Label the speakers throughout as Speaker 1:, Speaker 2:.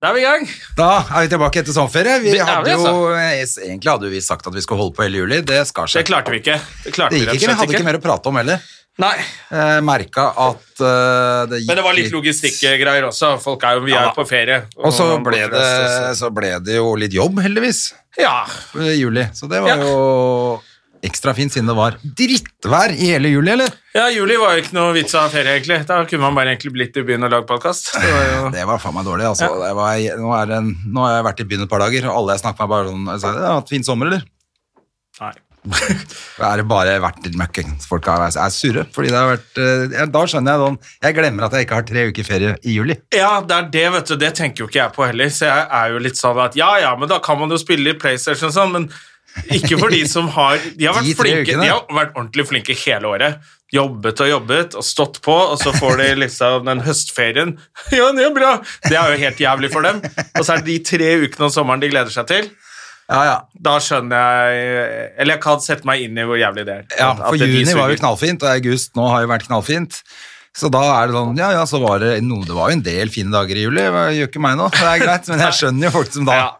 Speaker 1: Da er vi i gang.
Speaker 2: Da er vi tilbake etter sommerferie. Vi
Speaker 1: Det er
Speaker 2: hadde
Speaker 1: vi, altså.
Speaker 2: jo, egentlig hadde jo vi sagt at vi skulle holde på hele juli. Det skar
Speaker 1: Det
Speaker 2: seg.
Speaker 1: klarte vi ikke. Det, klarte
Speaker 2: Det gikk
Speaker 1: vi
Speaker 2: ikke. Vi hadde ikke mer å prate om heller.
Speaker 1: Nei,
Speaker 2: Eh, Merka at eh, det gikk
Speaker 1: Men det var litt logistikkgreier også. Folk er jo, vi er
Speaker 2: Ja.
Speaker 1: jo på ferie.
Speaker 2: Og så
Speaker 1: man
Speaker 2: ble, det,
Speaker 1: bortreist,
Speaker 2: så ble det jo litt jobb, heldigvis,
Speaker 1: og så- Ja.
Speaker 2: i juli. Så det var
Speaker 1: Ja.
Speaker 2: jo ekstra fint, siden det var drittvær i hele juli, eller?
Speaker 1: ja, juli var jo ikke noe vits av ferie, egentlig. Da kunne man bare egentlig blitt i byen og lagd podkast.
Speaker 2: Det var faen meg dårlig, altså. Det var, nå, er det, en- nå har jeg vært i byen et par dager, og alle jeg snakker med, bare sånn jeg sa, 'Det har hatt fin sommer, eller?'
Speaker 1: Nei.
Speaker 2: Da er det bare vært litt møkkings. Folk er, er surre. Fordi det har vært, eh, ja, da skjønner jeg sånn Jeg glemmer at jeg ikke har tre uker ferie i juli.
Speaker 1: Ja, det er det, vet du. Det tenker jo ikke jeg på heller. Så jeg er jo litt sånn at ja, ja, men da kan man jo spille i PlayStation og sånn, men ikke for de som har De har vært
Speaker 2: De tre
Speaker 1: flinke,
Speaker 2: ukene.
Speaker 1: de har vært ordentlig flinke hele året. Jobbet og jobbet og stått på, og så får de liksom den høstferien. Ja, det er bra! Det er jo helt jævlig for dem. Og så er det de tre ukene om sommeren de gleder seg til.
Speaker 2: Ja, ja.
Speaker 1: Da skjønner jeg Eller jeg kan sette meg inn i hvor jævlig det er.
Speaker 2: ja
Speaker 1: At
Speaker 2: for
Speaker 1: det er de
Speaker 2: juni var jo
Speaker 1: suger.
Speaker 2: knallfint, og august nå har jo vært knallfint. Så da er det sånn Ja, ja, så var det noe Det var jo en del fine dager i juli. Det gjør ikke meg nå. Det er greit, men jeg skjønner jo folk som da
Speaker 1: ja.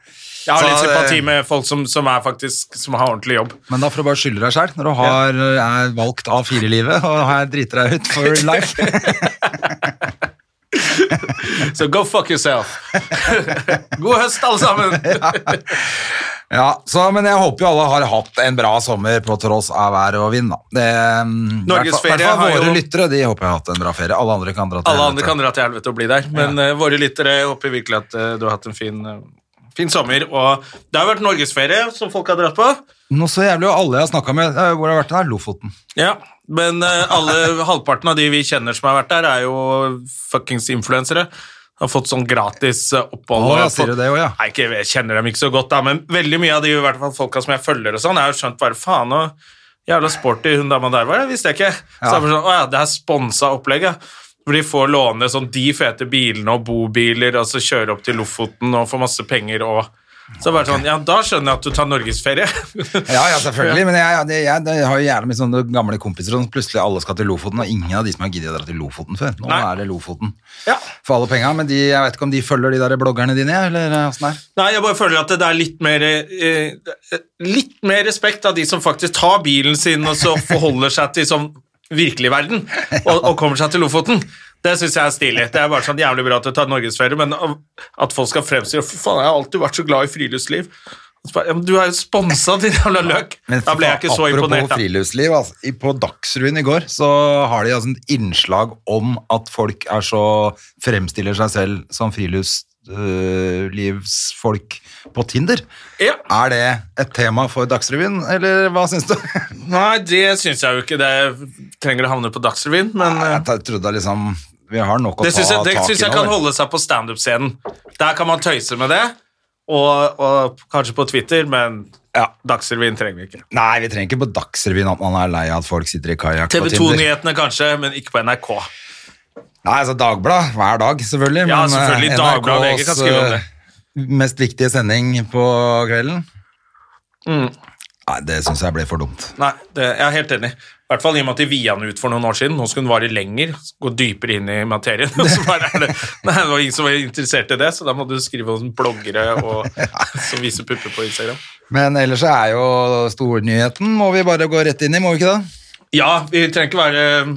Speaker 1: Jeg har
Speaker 2: Så eh,
Speaker 1: litt
Speaker 2: det-
Speaker 1: sympati med folk som, som er faktisk Som har ordentlig jobb.
Speaker 2: Men da får du bare skylde deg sjæl når du har, eh, er valgt A4-livet og her driter deg ut for life.
Speaker 1: Så go fuck yourself. God høst, alle sammen.
Speaker 2: Ja, så, Men jeg håper jo alle har hatt en bra sommer på tross av vær og vind, da. Det, mm,
Speaker 1: Norges
Speaker 2: hvertfall-
Speaker 1: ferie
Speaker 2: hvertfall
Speaker 1: har
Speaker 2: våre
Speaker 1: jo-
Speaker 2: lyttere de håper jeg har hatt en bra ferie. Alle andre kan dra til
Speaker 1: Alle andre
Speaker 2: helvete.
Speaker 1: kan dra til helvete og bli der, men eh, våre lyttere jeg håper virkelig at eh, du har hatt en fin, eh, fin sommer. Og det har vært norgesferie som folk har dratt på.
Speaker 2: Nå så jævlig jo alle jeg har snakka med, eh, hvor har det vært den her? Lofoten.
Speaker 1: Ja, Men eh, alle halvparten av de vi kjenner som har vært der, er jo fuckings influensere. Har fått sånn gratis eh, opphold.
Speaker 2: Å, ja,
Speaker 1: og
Speaker 2: sier
Speaker 1: fått-
Speaker 2: du det også, ja.
Speaker 1: Nei, ikke, jeg kjenner dem ikke så godt, da, men veldig mye av de i hvert fall folka som jeg følger, og sånn, jeg har jo skjønt bare faen og jævla sporty hun dama der var, det visste jeg ikke. Så
Speaker 2: Ja.
Speaker 1: jeg bare sånn, å ja, det er sponsa opplegg, ja. Hvor de får låne sånn de fete bilene og bobiler, og så kjøre opp til Lofoten og få masse penger og Så bare sånn, ja, da skjønner jeg at du tar norgesferie.
Speaker 2: Ja, ja, selvfølgelig, men jeg, jeg, jeg, jeg har jo gjerne mine sånne gamle kompiser som plutselig alle skal til Lofoten, og ingen av de som har giddet å dra til Lofoten før. Nå
Speaker 1: Nei.
Speaker 2: er det Lofoten
Speaker 1: Ja.
Speaker 2: for alle penga, men de, jeg vet ikke om de følger de der bloggerne dine, jeg, eller eh, åssen det er.
Speaker 1: Nei, jeg bare føler at det er litt mer eh, Litt mer respekt av de som faktisk tar bilen sin og så forholder seg til sånn virkelig verden, og, og kommer seg til Lofoten. Det syns jeg er stilig. Det er bare sånn jævlig bra at du tar norgesferie, men av- at folk skal fremstille For faen, jeg har alltid vært så glad i friluftsliv. Og så bare, Ja, men du er jo sponsa, din jævla løk!
Speaker 2: Men
Speaker 1: Da ble jeg ikke så
Speaker 2: apropos
Speaker 1: imponert. Da.
Speaker 2: friluftsliv, altså, i- på Dagsrevyen i går så har de altså et innslag om at folk er så fremstiller seg selv som friluftslivsfolk på Tinder.
Speaker 1: Ja.
Speaker 2: Er det et tema for Dagsrevyen, eller hva syns du?
Speaker 1: Nei, det syns jeg jo ikke. Det trenger å havne på Dagsrevyen, men eh,
Speaker 2: Jeg ta- trodde liksom Vi har nok å
Speaker 1: Det
Speaker 2: ta
Speaker 1: syns jeg, det
Speaker 2: tak i
Speaker 1: synes jeg
Speaker 2: nå,
Speaker 1: kan
Speaker 2: vel?
Speaker 1: holde seg på standup-scenen. Der kan man tøyse med det, og, og kanskje på Twitter, men ja, Dagsrevyen trenger vi ikke.
Speaker 2: Nei, vi trenger ikke på Dagsrevyen at man er lei av at folk sitter i kajakk på
Speaker 1: TV
Speaker 2: Tinder.
Speaker 1: 2-nyhetene kanskje, men ikke på NRK.
Speaker 2: Nei, altså Dagblad hver dag, selvfølgelig.
Speaker 1: Ja,
Speaker 2: men, eh,
Speaker 1: selvfølgelig, Dagbladet og VG kan skrive om det.
Speaker 2: NRKs mest viktige sending på kvelden.
Speaker 1: Mm.
Speaker 2: Nei, det syns jeg ble for dumt.
Speaker 1: Nei, det, jeg er helt enig. I hvert fall i og med at de via den ut for noen år siden. Nå skulle den vare lenger, gå dypere inn i materien. Og så bare er det, nei, det var ingen som var interessert i det, så da må du skrive om bloggere og, som viser pupper på Instagram.
Speaker 2: Men ellers så er jo stornyheten Må vi bare gå rett inn i, må vi ikke det?
Speaker 1: Ja, vi trenger ikke være eh,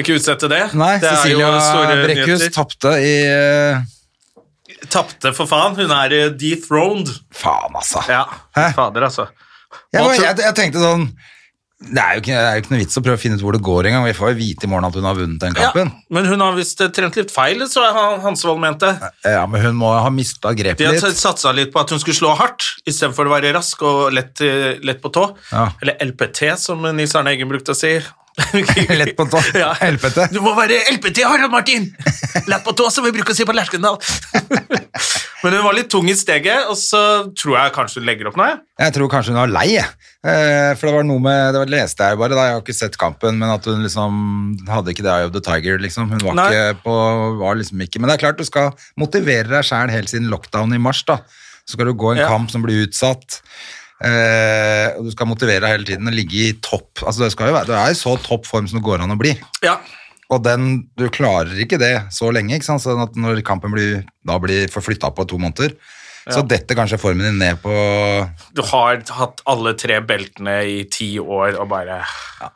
Speaker 1: ikke utsette det.
Speaker 2: Nei,
Speaker 1: det er jo
Speaker 2: Cecilia
Speaker 1: store
Speaker 2: Brekkhus
Speaker 1: nyheter.
Speaker 2: tapte i eh,
Speaker 1: Tapte, for faen. Hun er eh, dethroned.
Speaker 2: Faen, altså.
Speaker 1: Ja,
Speaker 2: Hæ?
Speaker 1: fader, altså.
Speaker 2: Jeg,
Speaker 1: Hva
Speaker 2: var-
Speaker 1: tror-
Speaker 2: jeg, jeg tenkte sånn det er, jo ikke, det er jo ikke noe vits å prøve å finne ut hvor det går engang. Vi får jo vite i morgen at hun har vunnet den
Speaker 1: Ja,
Speaker 2: kampen.
Speaker 1: men hun har visst eh, trent litt feil, så er han- Hansevold mente.
Speaker 2: Ja, men hun må ha mista grepet
Speaker 1: De har
Speaker 2: litt.
Speaker 1: tatt- satsa litt på at hun skulle slå hardt, istedenfor å være rask og lett, eh, lett på tå.
Speaker 2: Ja.
Speaker 1: Eller LPT, som Nils Arne Eggen brukte å si.
Speaker 2: Lett på sånn tå.
Speaker 1: Ja.
Speaker 2: LPT.
Speaker 1: Du må være LPT, Harald Martin! Lett på tå, som vi bruker å si på Lerkendal. men hun var litt tung i steget, og så tror jeg kanskje hun legger opp nå, jeg.
Speaker 2: Jeg tror kanskje hun var lei, jeg. Eh, For det var noe med Det var- leste jeg jo bare, da. Jeg har ikke sett kampen, men at hun liksom hadde ikke det Eye of the Tiger, liksom. Hun var
Speaker 1: Nei.
Speaker 2: ikke på Var liksom ikke Men det er klart, du skal motivere deg sjæl helt siden lockdown i mars, da. Så skal du gå en
Speaker 1: Ja.
Speaker 2: kamp som blir utsatt. Eh, og du skal motivere deg hele tiden og ligge i topp. Altså, det, skal jo være, det er jo så topp form som det går an å bli.
Speaker 1: Ja.
Speaker 2: Og den, du klarer ikke det så lenge, ikke sant? Sånn at når kampen blir, da blir forflytta på to måneder, så detter kanskje formen din ned på
Speaker 1: Du har hatt alle tre beltene i ti år og bare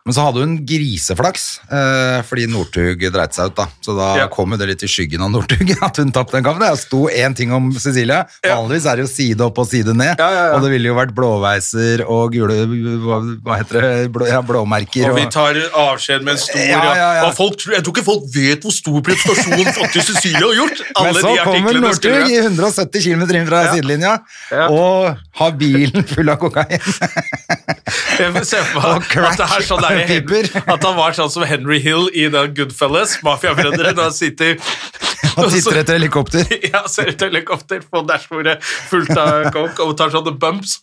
Speaker 2: Men så hadde hun griseflaks, eh, fordi Northug dreit seg ut, da. Så da
Speaker 1: Ja.
Speaker 2: kom jo det litt i skyggen av Northug at hun tapte den kampen. Det sto én ting om Cecilia. Vanligvis er det jo side opp og side ned,
Speaker 1: Ja, ja, ja.
Speaker 2: og det ville jo vært blåveiser og gule Hva, hva heter det? Blå, ja, blåmerker.
Speaker 1: Og vi
Speaker 2: og-
Speaker 1: tar avskjed med en stor
Speaker 2: Ja, ja, ja.
Speaker 1: Og folk, tror- Jeg tror ikke folk vet hvor stor prestasjon faktisk Cecilie har gjort!
Speaker 2: Men
Speaker 1: Alle
Speaker 2: så
Speaker 1: de
Speaker 2: kommer
Speaker 1: artiklene
Speaker 2: Northug i
Speaker 1: skulle
Speaker 2: 170 km inn fra sidelinja
Speaker 1: Ja.
Speaker 2: og har bilen full av kokain.
Speaker 1: Jeg ser for
Speaker 2: Og
Speaker 1: meg at det er
Speaker 2: crack
Speaker 1: sånn der,
Speaker 2: og piper.
Speaker 1: At han var sånn som Henry Hill i den Goodfellas, Mafiabrødre. Da han sitter
Speaker 2: Og titter etter helikopter.
Speaker 1: Ja, ser ut helikopter på dashbordet fullt av coke og tar sånne bumps.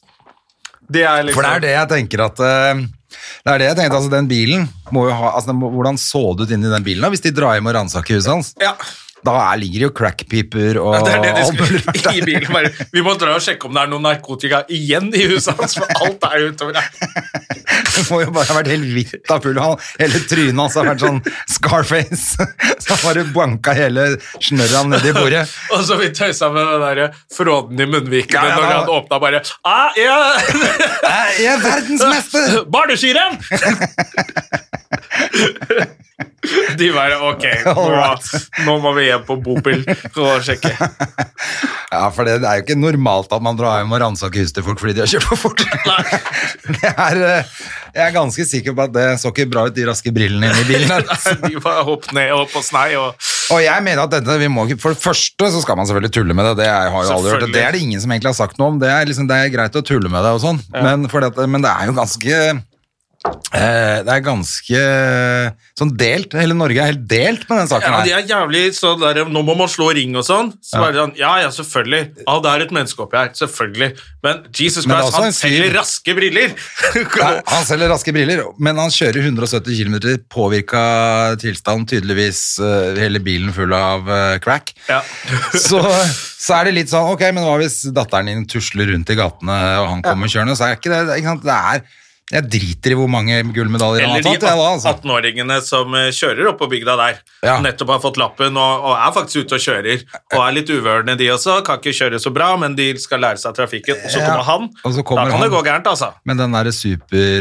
Speaker 1: Det er liksom
Speaker 2: For det er det jeg tenker at eh, Det er det jeg tenkte, altså den bilen må jo ha, altså den må, Hvordan så det ut inni den bilen da, hvis de drar hjem og ransaker huset hans?
Speaker 1: Ja,
Speaker 2: Da er, ligger det jo crackpiper og
Speaker 1: det er det de
Speaker 2: alt mulig rart
Speaker 1: skulle
Speaker 2: der.
Speaker 1: i bilen. Bare, vi må dra og sjekke om det er noe narkotika igjen i huset hans, for alt er jo utover her.
Speaker 2: Det må jo bare ha vært helt hvitt av full han. Hele trynet hans har vært sånn Scarface. Så han bare banka hele snørra ned i bordet.
Speaker 1: Og så vi tøysa med den der fråden i munnviken
Speaker 2: Ja, ja,
Speaker 1: når
Speaker 2: da-
Speaker 1: han åpna bare «Ah, ja.
Speaker 2: Jeg er verdensmester!
Speaker 1: Barneskirenn! De bare Ok, nå,
Speaker 2: Alright.
Speaker 1: nå må vi hjem på Bopil og sjekke.
Speaker 2: Ja, for det, det er jo ikke normalt at man drar hjem og ransaker huset til folk fordi de har kjørt for fort. Det er, eh, jeg er ganske sikker på at det så ikke bra ut, de raske brillene inne i bilen. altså. der.
Speaker 1: De bare hopp ned og på snei og
Speaker 2: Og jeg mener at dette, vi må ikke, For det første så skal man selvfølgelig tulle med det. Det har jeg jo aldri hørt.
Speaker 1: Selvfølgelig.
Speaker 2: Det er det ingen som egentlig har sagt noe om. Det er, liksom, det er greit å tulle med det og sånn, men, fordi at- men det er jo ganske eh, Det er ganske sånn delt. Hele Norge er helt delt med den saken
Speaker 1: Ja, de
Speaker 2: her.
Speaker 1: er jævlig sånn der Nå må man slå ring og sånn. Så bare sånn Ja, ja, selvfølgelig. Ja, det er et menneske oppi her. Selvfølgelig. Men Jesus
Speaker 2: Men det er
Speaker 1: Christ,
Speaker 2: også en
Speaker 1: han
Speaker 2: fyr-
Speaker 1: selger raske briller!
Speaker 2: Nei, Han selger raske briller, men han kjører 170 km i påvirka tilstand, tydeligvis eh, hele bilen full av eh, crack.
Speaker 1: Ja.
Speaker 2: så, så er det litt sånn Ok, men hva hvis datteren din tusler rundt i gatene og han kommer kjørende, så er ikke det ikke sant? Det er, Jeg driter i hvor mange gullmedaljer han
Speaker 1: Eller
Speaker 2: har
Speaker 1: de
Speaker 2: tatt. jeg, da, altså.
Speaker 1: 18-åringene som eh, kjører opp på bygda der.
Speaker 2: Ja.
Speaker 1: Nettopp har fått lappen og, og er faktisk ute og kjører. Og er litt uvørende, de også. Kan ikke kjøre så bra, men de skal lære seg trafikken. Og så
Speaker 2: Ja.
Speaker 1: kommer han.
Speaker 2: Og så kommer
Speaker 1: da kan
Speaker 2: han.
Speaker 1: det gå gærent, altså.
Speaker 2: Men den derre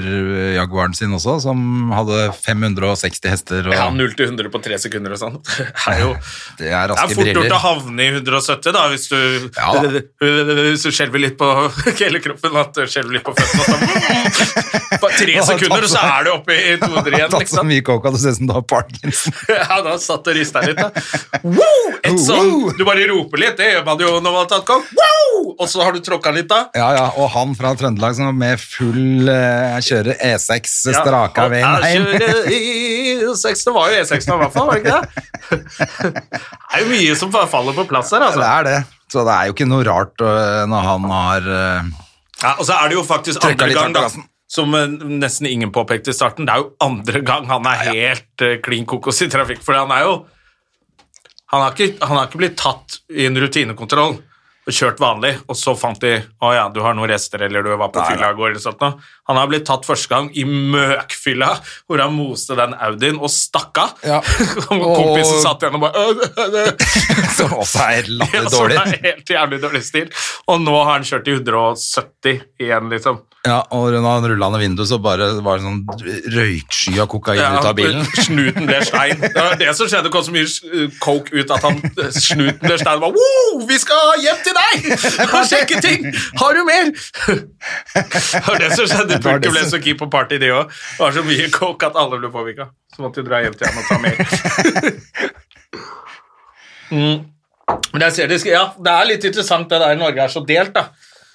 Speaker 2: super-Jaguaren sin også, som hadde 560 hester og
Speaker 1: Ja, 0 til 100 på 3 sekunder og sånn. Det er jo
Speaker 2: Det er
Speaker 1: det er
Speaker 2: raske
Speaker 1: fort gjort
Speaker 2: briller.
Speaker 1: å havne i 170 da, hvis du,
Speaker 2: Ja da.
Speaker 1: hvis du skjelver litt på hele kroppen. At du skjelver litt på føttene. og så- På tre
Speaker 2: har tatt
Speaker 1: sekunder, og så
Speaker 2: så-
Speaker 1: er du oppe i 200
Speaker 2: Han har
Speaker 1: igjen.
Speaker 2: tatt så
Speaker 1: Liksom.
Speaker 2: mye coke at det ser ut som du har parkinson.
Speaker 1: Ja, da satt og rista litt, da. Wow! Et sånn, du bare roper litt, det gjør man jo når man har tatt kopp. Wow! Og så har du tråkka litt, da.
Speaker 2: Ja, ja, og han fra Trøndelag som var med full eh, kjører E6
Speaker 1: Ja,
Speaker 2: straka
Speaker 1: og
Speaker 2: veien
Speaker 1: jeg
Speaker 2: hjem.
Speaker 1: kjører i- i- i- seks, Det var jo E6 nå, i hvert fall. var det ikke det? Det er jo mye som faller på plass her, altså.
Speaker 2: Det er det. Så det er jo ikke noe rart eh, når han har eh,
Speaker 1: Ja, og så er det jo faktisk
Speaker 2: Trykka
Speaker 1: andre
Speaker 2: litt
Speaker 1: gang,
Speaker 2: hardt på
Speaker 1: da,
Speaker 2: gassen.
Speaker 1: som eh, nesten ingen påpekte i starten, det er jo andre gang han er helt eh, klin kokos i trafikk, for han er jo han har, ikke, han har ikke blitt tatt i en rutinekontroll og kjørt vanlig, og så fant de å ja, du har noen rester, eller du var på fylla i går, eller sånt noe. Han har blitt tatt første gang i møkfylla, hvor han moste den Audien og stakk av.
Speaker 2: Ja.
Speaker 1: og
Speaker 2: Og-
Speaker 1: kompisen satt igjen og bare «Øh, øh, øh».
Speaker 2: Som også er helt
Speaker 1: Ja,
Speaker 2: latterlig
Speaker 1: så det
Speaker 2: dårlig.
Speaker 1: er helt jævlig dårlig stil. Og nå har han kjørt i 170 igjen, liksom.
Speaker 2: Ja, og når han rulla ned vinduet, så bare var det sånn røyksky av kokain ut av bilen.
Speaker 1: Snuten ble stein. Det var det som skjedde. Det kom så mye eh, coke ut at han, eh, snuten ble stein. Bare, wow, vi skal hjem til deg! Og sjekke ting! Har du mer? Det var det som skjedde.
Speaker 2: var det
Speaker 1: Pulken ble
Speaker 2: som-
Speaker 1: så keen på party, de òg. Det var så mye coke at alle ble påvirka. Så måtte de dra hjem til ham og ta mer. Mm. Men jeg ser det, ja, det er litt interessant det der Norge er så delt, da.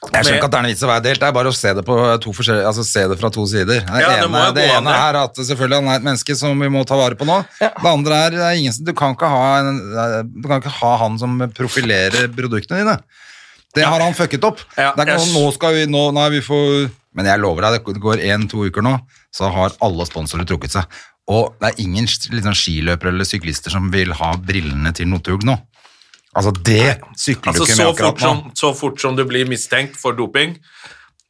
Speaker 2: Jeg skjønner ikke at det er noe vits i å være delt, det er bare å se det, på to forskjellige- altså, se det fra to sider. Det
Speaker 1: Ja, det må jo
Speaker 2: ene,
Speaker 1: gå
Speaker 2: det
Speaker 1: an,
Speaker 2: ene
Speaker 1: det.
Speaker 2: er at selvfølgelig han er et menneske som vi må ta vare på nå. Det andre er, det er ingen, som- du, kan ikke ha en, du kan ikke ha han som profilerer produktene dine. Det har han fucket opp.
Speaker 1: Ja,
Speaker 2: det er ikke
Speaker 1: jeg-
Speaker 2: sånn, nå skal vi, nå, nei, vi får... Men jeg lover deg, det går en-to uker nå, så har alle sponsorer trukket seg. Og det er ingen liksom, skiløpere eller syklister som vil ha brillene til Northug nå. Altså, det sykler
Speaker 1: Altså,
Speaker 2: du ikke med
Speaker 1: så
Speaker 2: akkurat
Speaker 1: fort,
Speaker 2: nå.
Speaker 1: som, så fort som du blir mistenkt for doping,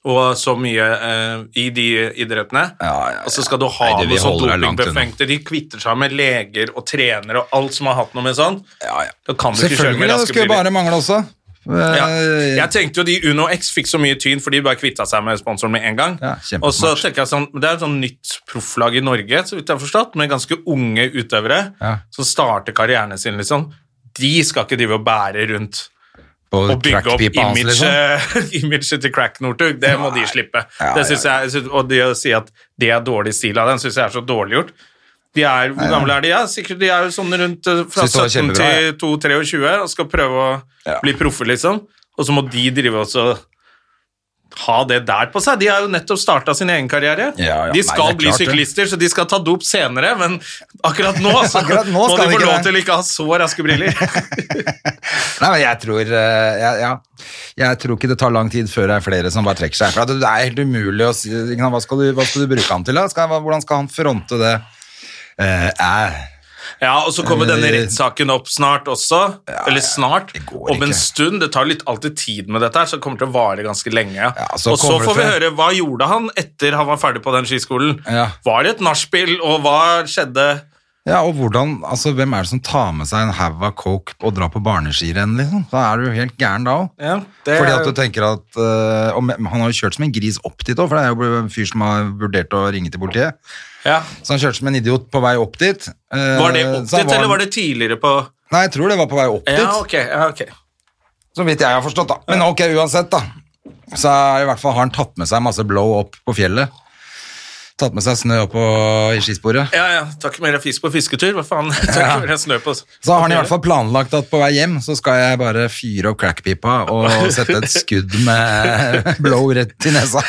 Speaker 1: og så mye eh, i de idrettene.
Speaker 2: Ja, ja, ja.
Speaker 1: Og så skal du ha
Speaker 2: Nei, det- vi
Speaker 1: noe sånn
Speaker 2: holder deg langt
Speaker 1: dopingbefengte. De kvitter seg med leger og trenere og alt som har hatt noe med sånn.
Speaker 2: Ja, ja.
Speaker 1: Da kan du ikke kjøre
Speaker 2: Selvfølgelig,
Speaker 1: med
Speaker 2: det
Speaker 1: raske
Speaker 2: skulle
Speaker 1: briller.
Speaker 2: bare mangle også.
Speaker 1: Ja.
Speaker 2: Eh,
Speaker 1: Jeg tenkte jo de Uno X fikk så mye tyn, for de bare kvitta seg med sponsoren med en gang.
Speaker 2: Ja, kjempesmart.
Speaker 1: og så tenker jeg sånn, Det er et sånn nytt profflag i Norge, så vidt jeg har forstått, med ganske unge utøvere
Speaker 2: Ja.
Speaker 1: som starter karrieren sin. liksom. De skal ikke drive og bære rundt
Speaker 2: på
Speaker 1: og altså, bygge opp eh.
Speaker 2: crackpipa hans,
Speaker 1: imaget
Speaker 2: liksom.
Speaker 1: imaget til Crack Northug. Det må de slippe.
Speaker 2: Ja,
Speaker 1: det synes jeg, synes- Og det å si at det er dårlig stil av dem, syns jeg er så dårlig gjort. De er, hvor gamle er de? Ja, sikkert de er jo sånn rundt eh, fra
Speaker 2: Synes det var
Speaker 1: 17
Speaker 2: kjempebra,
Speaker 1: til
Speaker 2: ja.
Speaker 1: 22-23 og skal prøve å
Speaker 2: Ja.
Speaker 1: bli proffe, liksom. Og så må de drive også ha det der på seg. De har jo nettopp starta sin egen karriere.
Speaker 2: Ja, ja.
Speaker 1: De
Speaker 2: Nei,
Speaker 1: skal
Speaker 2: det er
Speaker 1: bli
Speaker 2: klart det.
Speaker 1: syklister, så de skal ta dop senere, men akkurat nå, så
Speaker 2: Akkurat nå
Speaker 1: må
Speaker 2: skal
Speaker 1: de
Speaker 2: de
Speaker 1: få
Speaker 2: ikke
Speaker 1: lov
Speaker 2: det.
Speaker 1: til ikke å ha så raske briller.
Speaker 2: Nei, men jeg tror, eh, ja, ja. jeg tror ikke det tar lang tid før det er flere som bare trekker seg. For det er helt umulig å si ikke sant, hva, skal du, hva skal du bruke han til? da? Skal, hva- hvordan skal han fronte det? Eh, eh,
Speaker 1: Ja, og så kommer
Speaker 2: Eh,
Speaker 1: denne rettssaken opp snart også. eller snart.
Speaker 2: det går
Speaker 1: Om en
Speaker 2: ikke.
Speaker 1: stund. Det tar litt alltid tid med dette her, så det kommer til å vare ganske lenge.
Speaker 2: så
Speaker 1: og så
Speaker 2: kommer det
Speaker 1: får vi
Speaker 2: til-
Speaker 1: høre hva gjorde han etter han var ferdig på den skiskolen.
Speaker 2: Ja.
Speaker 1: Var det et nachspiel, og hva skjedde?
Speaker 2: ja, og hvordan, altså, hvem er det som tar med seg en haug av coke og drar på barneskirenn, liksom? Da er du jo helt gæren da òg.
Speaker 1: Ja, det
Speaker 2: Fordi
Speaker 1: er-
Speaker 2: at du tenker at eh, og men- Han har jo kjørt som en gris opp dit òg, for det er jo en fyr som har vurdert å ringe til politiet.
Speaker 1: ja.
Speaker 2: Så han kjørte som en idiot på vei opp dit. Eh,
Speaker 1: Var det opp
Speaker 2: så han
Speaker 1: dit, eller var det tidligere på
Speaker 2: Nei, jeg tror det var på vei opp
Speaker 1: Ja,
Speaker 2: dit.
Speaker 1: ok. Ja, ok.
Speaker 2: Så vidt jeg har forstått, da. Men ok, uansett, da. Så er det i hvert fall har han tatt med seg masse blow opp på fjellet. Tatt med seg snø opp på, i skisporet.
Speaker 1: Ja, ja. Takk mer fisk på fisketur. Hva faen? Takk mer snø på
Speaker 2: Så har han i hvert fall planlagt at på vei hjem så skal jeg bare fyre opp crackpipa og sette et skudd med blow rett i nesa.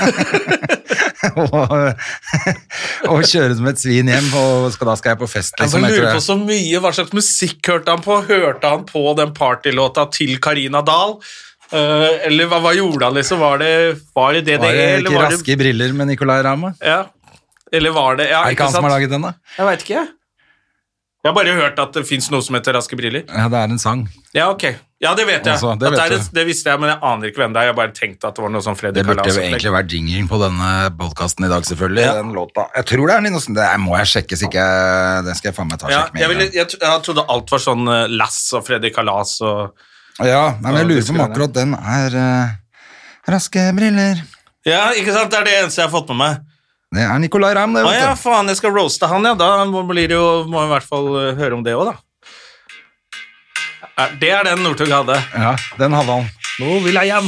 Speaker 2: og, og kjøre som et svin hjem, og skal, da skal jeg på fest,
Speaker 1: Jeg
Speaker 2: liksom.
Speaker 1: bare
Speaker 2: Jeg tror
Speaker 1: lurer på
Speaker 2: jeg.
Speaker 1: så mye Hva slags musikk hørte han på? Hørte han på den partylåta til Karina Dahl? Eh, eller hva, hva gjorde han, liksom? Var det, var det DDE,
Speaker 2: Var det
Speaker 1: eller
Speaker 2: ikke
Speaker 1: var det
Speaker 2: Raske i briller med Nicolay Rauma?
Speaker 1: ja. Eller var det Ja,
Speaker 2: Er
Speaker 1: ikke
Speaker 2: det ikke han som
Speaker 1: sant?
Speaker 2: har laget den, da?
Speaker 1: Jeg veit ikke, jeg. Jeg har bare hørt at det fins noe som heter Raske briller.
Speaker 2: Ja, det er en sang.
Speaker 1: Ja, ok. Ja, det vet jeg.
Speaker 2: Altså, det
Speaker 1: det, at
Speaker 2: vet
Speaker 1: det,
Speaker 2: du.
Speaker 1: er, det visste jeg, men jeg aner ikke hvem det er. Jeg bare tenkte at det var noe sånn Freddy
Speaker 2: Det burde jo
Speaker 1: Kalas-opplegg.
Speaker 2: egentlig vært jinglen på denne podkasten i dag, selvfølgelig. Den låta. Jeg tror det er Ninosen. Det er- må jeg sjekke, så ikke jeg- Den skal jeg faen meg ta og
Speaker 1: Ja,
Speaker 2: sjekke med.
Speaker 1: jeg,
Speaker 2: en
Speaker 1: ville,
Speaker 2: gang.
Speaker 1: jeg, tro- jeg trodde alt var sånn eh, Lass og Freddy Kalas og
Speaker 2: Ja, nei,
Speaker 1: Ja, det
Speaker 2: men jeg lurer på om
Speaker 1: skulle jeg
Speaker 2: akkurat den er eh, Raske briller.
Speaker 1: Ja, ikke sant? Det er det eneste jeg har fått med meg.
Speaker 2: Det er Nicolay Ramm, det,
Speaker 1: Å Ah, ja,
Speaker 2: vet du.
Speaker 1: faen, jeg skal roaste han, ja. Da må blir det jo, må jeg i hvert fall eh, høre om det òg, da. Eh, Det er den Northug hadde.
Speaker 2: Ja, den hadde han.
Speaker 1: Nå vil jeg hjem.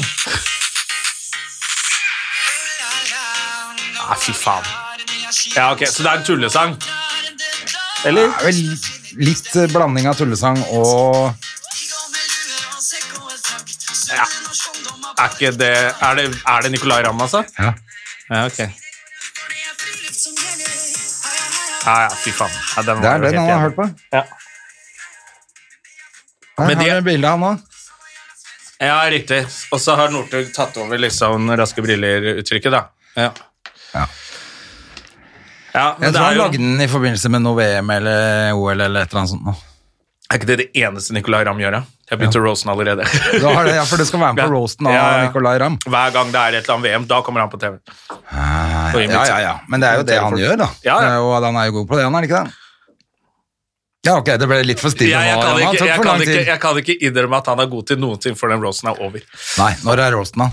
Speaker 1: Nei, Ah, fy faen. Ja, ok, Så det er en tullesang? Eller?
Speaker 2: Det er vel litt eh, blanding av tullesang og
Speaker 1: Ja. Er, ikke det, er, det, er det Nicolay Ramm, altså?
Speaker 2: Ja.
Speaker 1: Ja, ok. Ja, ja, fy faen. Ja, den
Speaker 2: Det
Speaker 1: var
Speaker 2: er
Speaker 1: jo
Speaker 2: den
Speaker 1: helt
Speaker 2: han har
Speaker 1: jævlig.
Speaker 2: hørt på.
Speaker 1: Ja.
Speaker 2: Her
Speaker 1: Men
Speaker 2: har
Speaker 1: de-
Speaker 2: vi bildet av han òg.
Speaker 1: ja, riktig. Og så har Northug tatt over liksom Raske briller-uttrykket, da. Ja.
Speaker 2: Ja.
Speaker 1: Ja, men
Speaker 2: Jeg
Speaker 1: det er
Speaker 2: tror han
Speaker 1: jo...
Speaker 2: lagde den i forbindelse med noe VM eller OL eller et eller annet sånt. nå.
Speaker 1: Er ikke det det eneste Nicolay Ramm gjør? ja? Jeg begynte å roaste han allerede.
Speaker 2: Du har det, ja, for du skal være med på roasten av
Speaker 1: Ja, ja.
Speaker 2: Nicolay Ramm.
Speaker 1: Hver gang det er et eller annet VM, da kommer han på TV.
Speaker 2: Ah,
Speaker 1: Og
Speaker 2: Ja,
Speaker 1: inviter-
Speaker 2: ja, ja. Men det er jo det
Speaker 1: invitere
Speaker 2: han
Speaker 1: folk.
Speaker 2: gjør, da.
Speaker 1: Ja, ja.
Speaker 2: Det er jo, han er jo god på det, han er ikke det? Ja, ok, det ble litt for
Speaker 1: Jeg,
Speaker 2: stille
Speaker 1: jeg,
Speaker 2: nå.
Speaker 1: kan
Speaker 2: Jan.
Speaker 1: ikke,
Speaker 2: Det tok
Speaker 1: jeg,
Speaker 2: for lang
Speaker 1: kan ikke,
Speaker 2: tid.
Speaker 1: jeg kan ikke innrømme at han er god til noen ting før den roasten er over.
Speaker 2: Nei, når er roasten, da?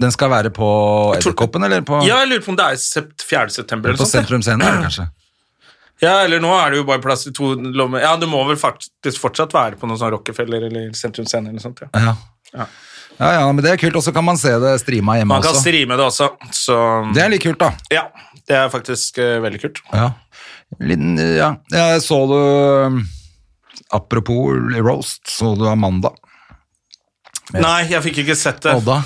Speaker 2: Den skal være på Edderkoppen, eller på,
Speaker 1: Ja, jeg lurer på om det er sept- 4. september eller
Speaker 2: på
Speaker 1: noe sånt.
Speaker 2: Sentrum Scene, er det kanskje?
Speaker 1: ja. Ja, eller nå er det jo bare plass til to lommer. Ja, du må vel faktisk fortsatt være på noen sånn Rockefeller eller Sentrum Scene eller noe sånt, ja.
Speaker 2: Ja.
Speaker 1: Ja.
Speaker 2: ja, ja, men det er kult. Og så kan man se det streama hjemme
Speaker 1: Man kan
Speaker 2: også.
Speaker 1: streame det også, så
Speaker 2: Det er litt kult, da.
Speaker 1: Ja, det er faktisk eh, veldig kult.
Speaker 2: Ja. Liten, ja. Jeg så du um, Apropos roast, så du Amanda
Speaker 1: Nei, jeg fikk ikke sett det.
Speaker 2: Odda?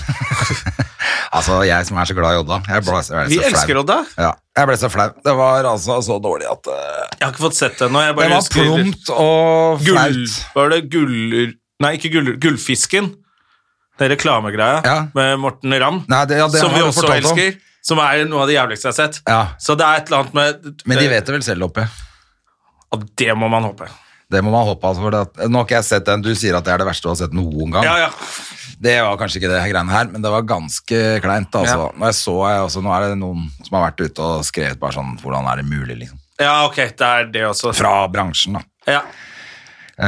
Speaker 2: altså, jeg som er så glad i Odda. Jeg ble, jeg ble
Speaker 1: Vi
Speaker 2: så flau.
Speaker 1: elsker Odda.
Speaker 2: Ja, jeg ble så flau. Det var altså så dårlig at eh,
Speaker 1: Jeg har ikke fått sett det ennå. jeg
Speaker 2: Det
Speaker 1: bare
Speaker 2: var
Speaker 1: husker-
Speaker 2: prompt og
Speaker 1: Gull,
Speaker 2: flaut.
Speaker 1: var det gull... Nei, ikke gull, gullfisken. Det er reklamegreia
Speaker 2: Ja.
Speaker 1: med Morten Ramm,
Speaker 2: Nei, det- ja, det
Speaker 1: som
Speaker 2: har
Speaker 1: vi
Speaker 2: du
Speaker 1: også
Speaker 2: fortalt om.
Speaker 1: elsker. Som er noe av det jævligste jeg har sett.
Speaker 2: Ja.
Speaker 1: Så det er et eller annet med
Speaker 2: Men de vet det vel selv oppe.
Speaker 1: Og det må man håpe.
Speaker 2: Det må man håpe. Altså, for det at, nå har ikke jeg sett den. Du sier at det er det verste du har sett noen gang.
Speaker 1: Ja, ja.
Speaker 2: Det var kanskje ikke det her greiene her, men det var ganske kleint. Altså. Når jeg så, jeg, også, Nå er det noen som har vært ute og skrevet bare sånn Hvordan er det mulig, liksom?
Speaker 1: ja, ok, det er det også.
Speaker 2: Fra bransjen, da.
Speaker 1: Ja. Du,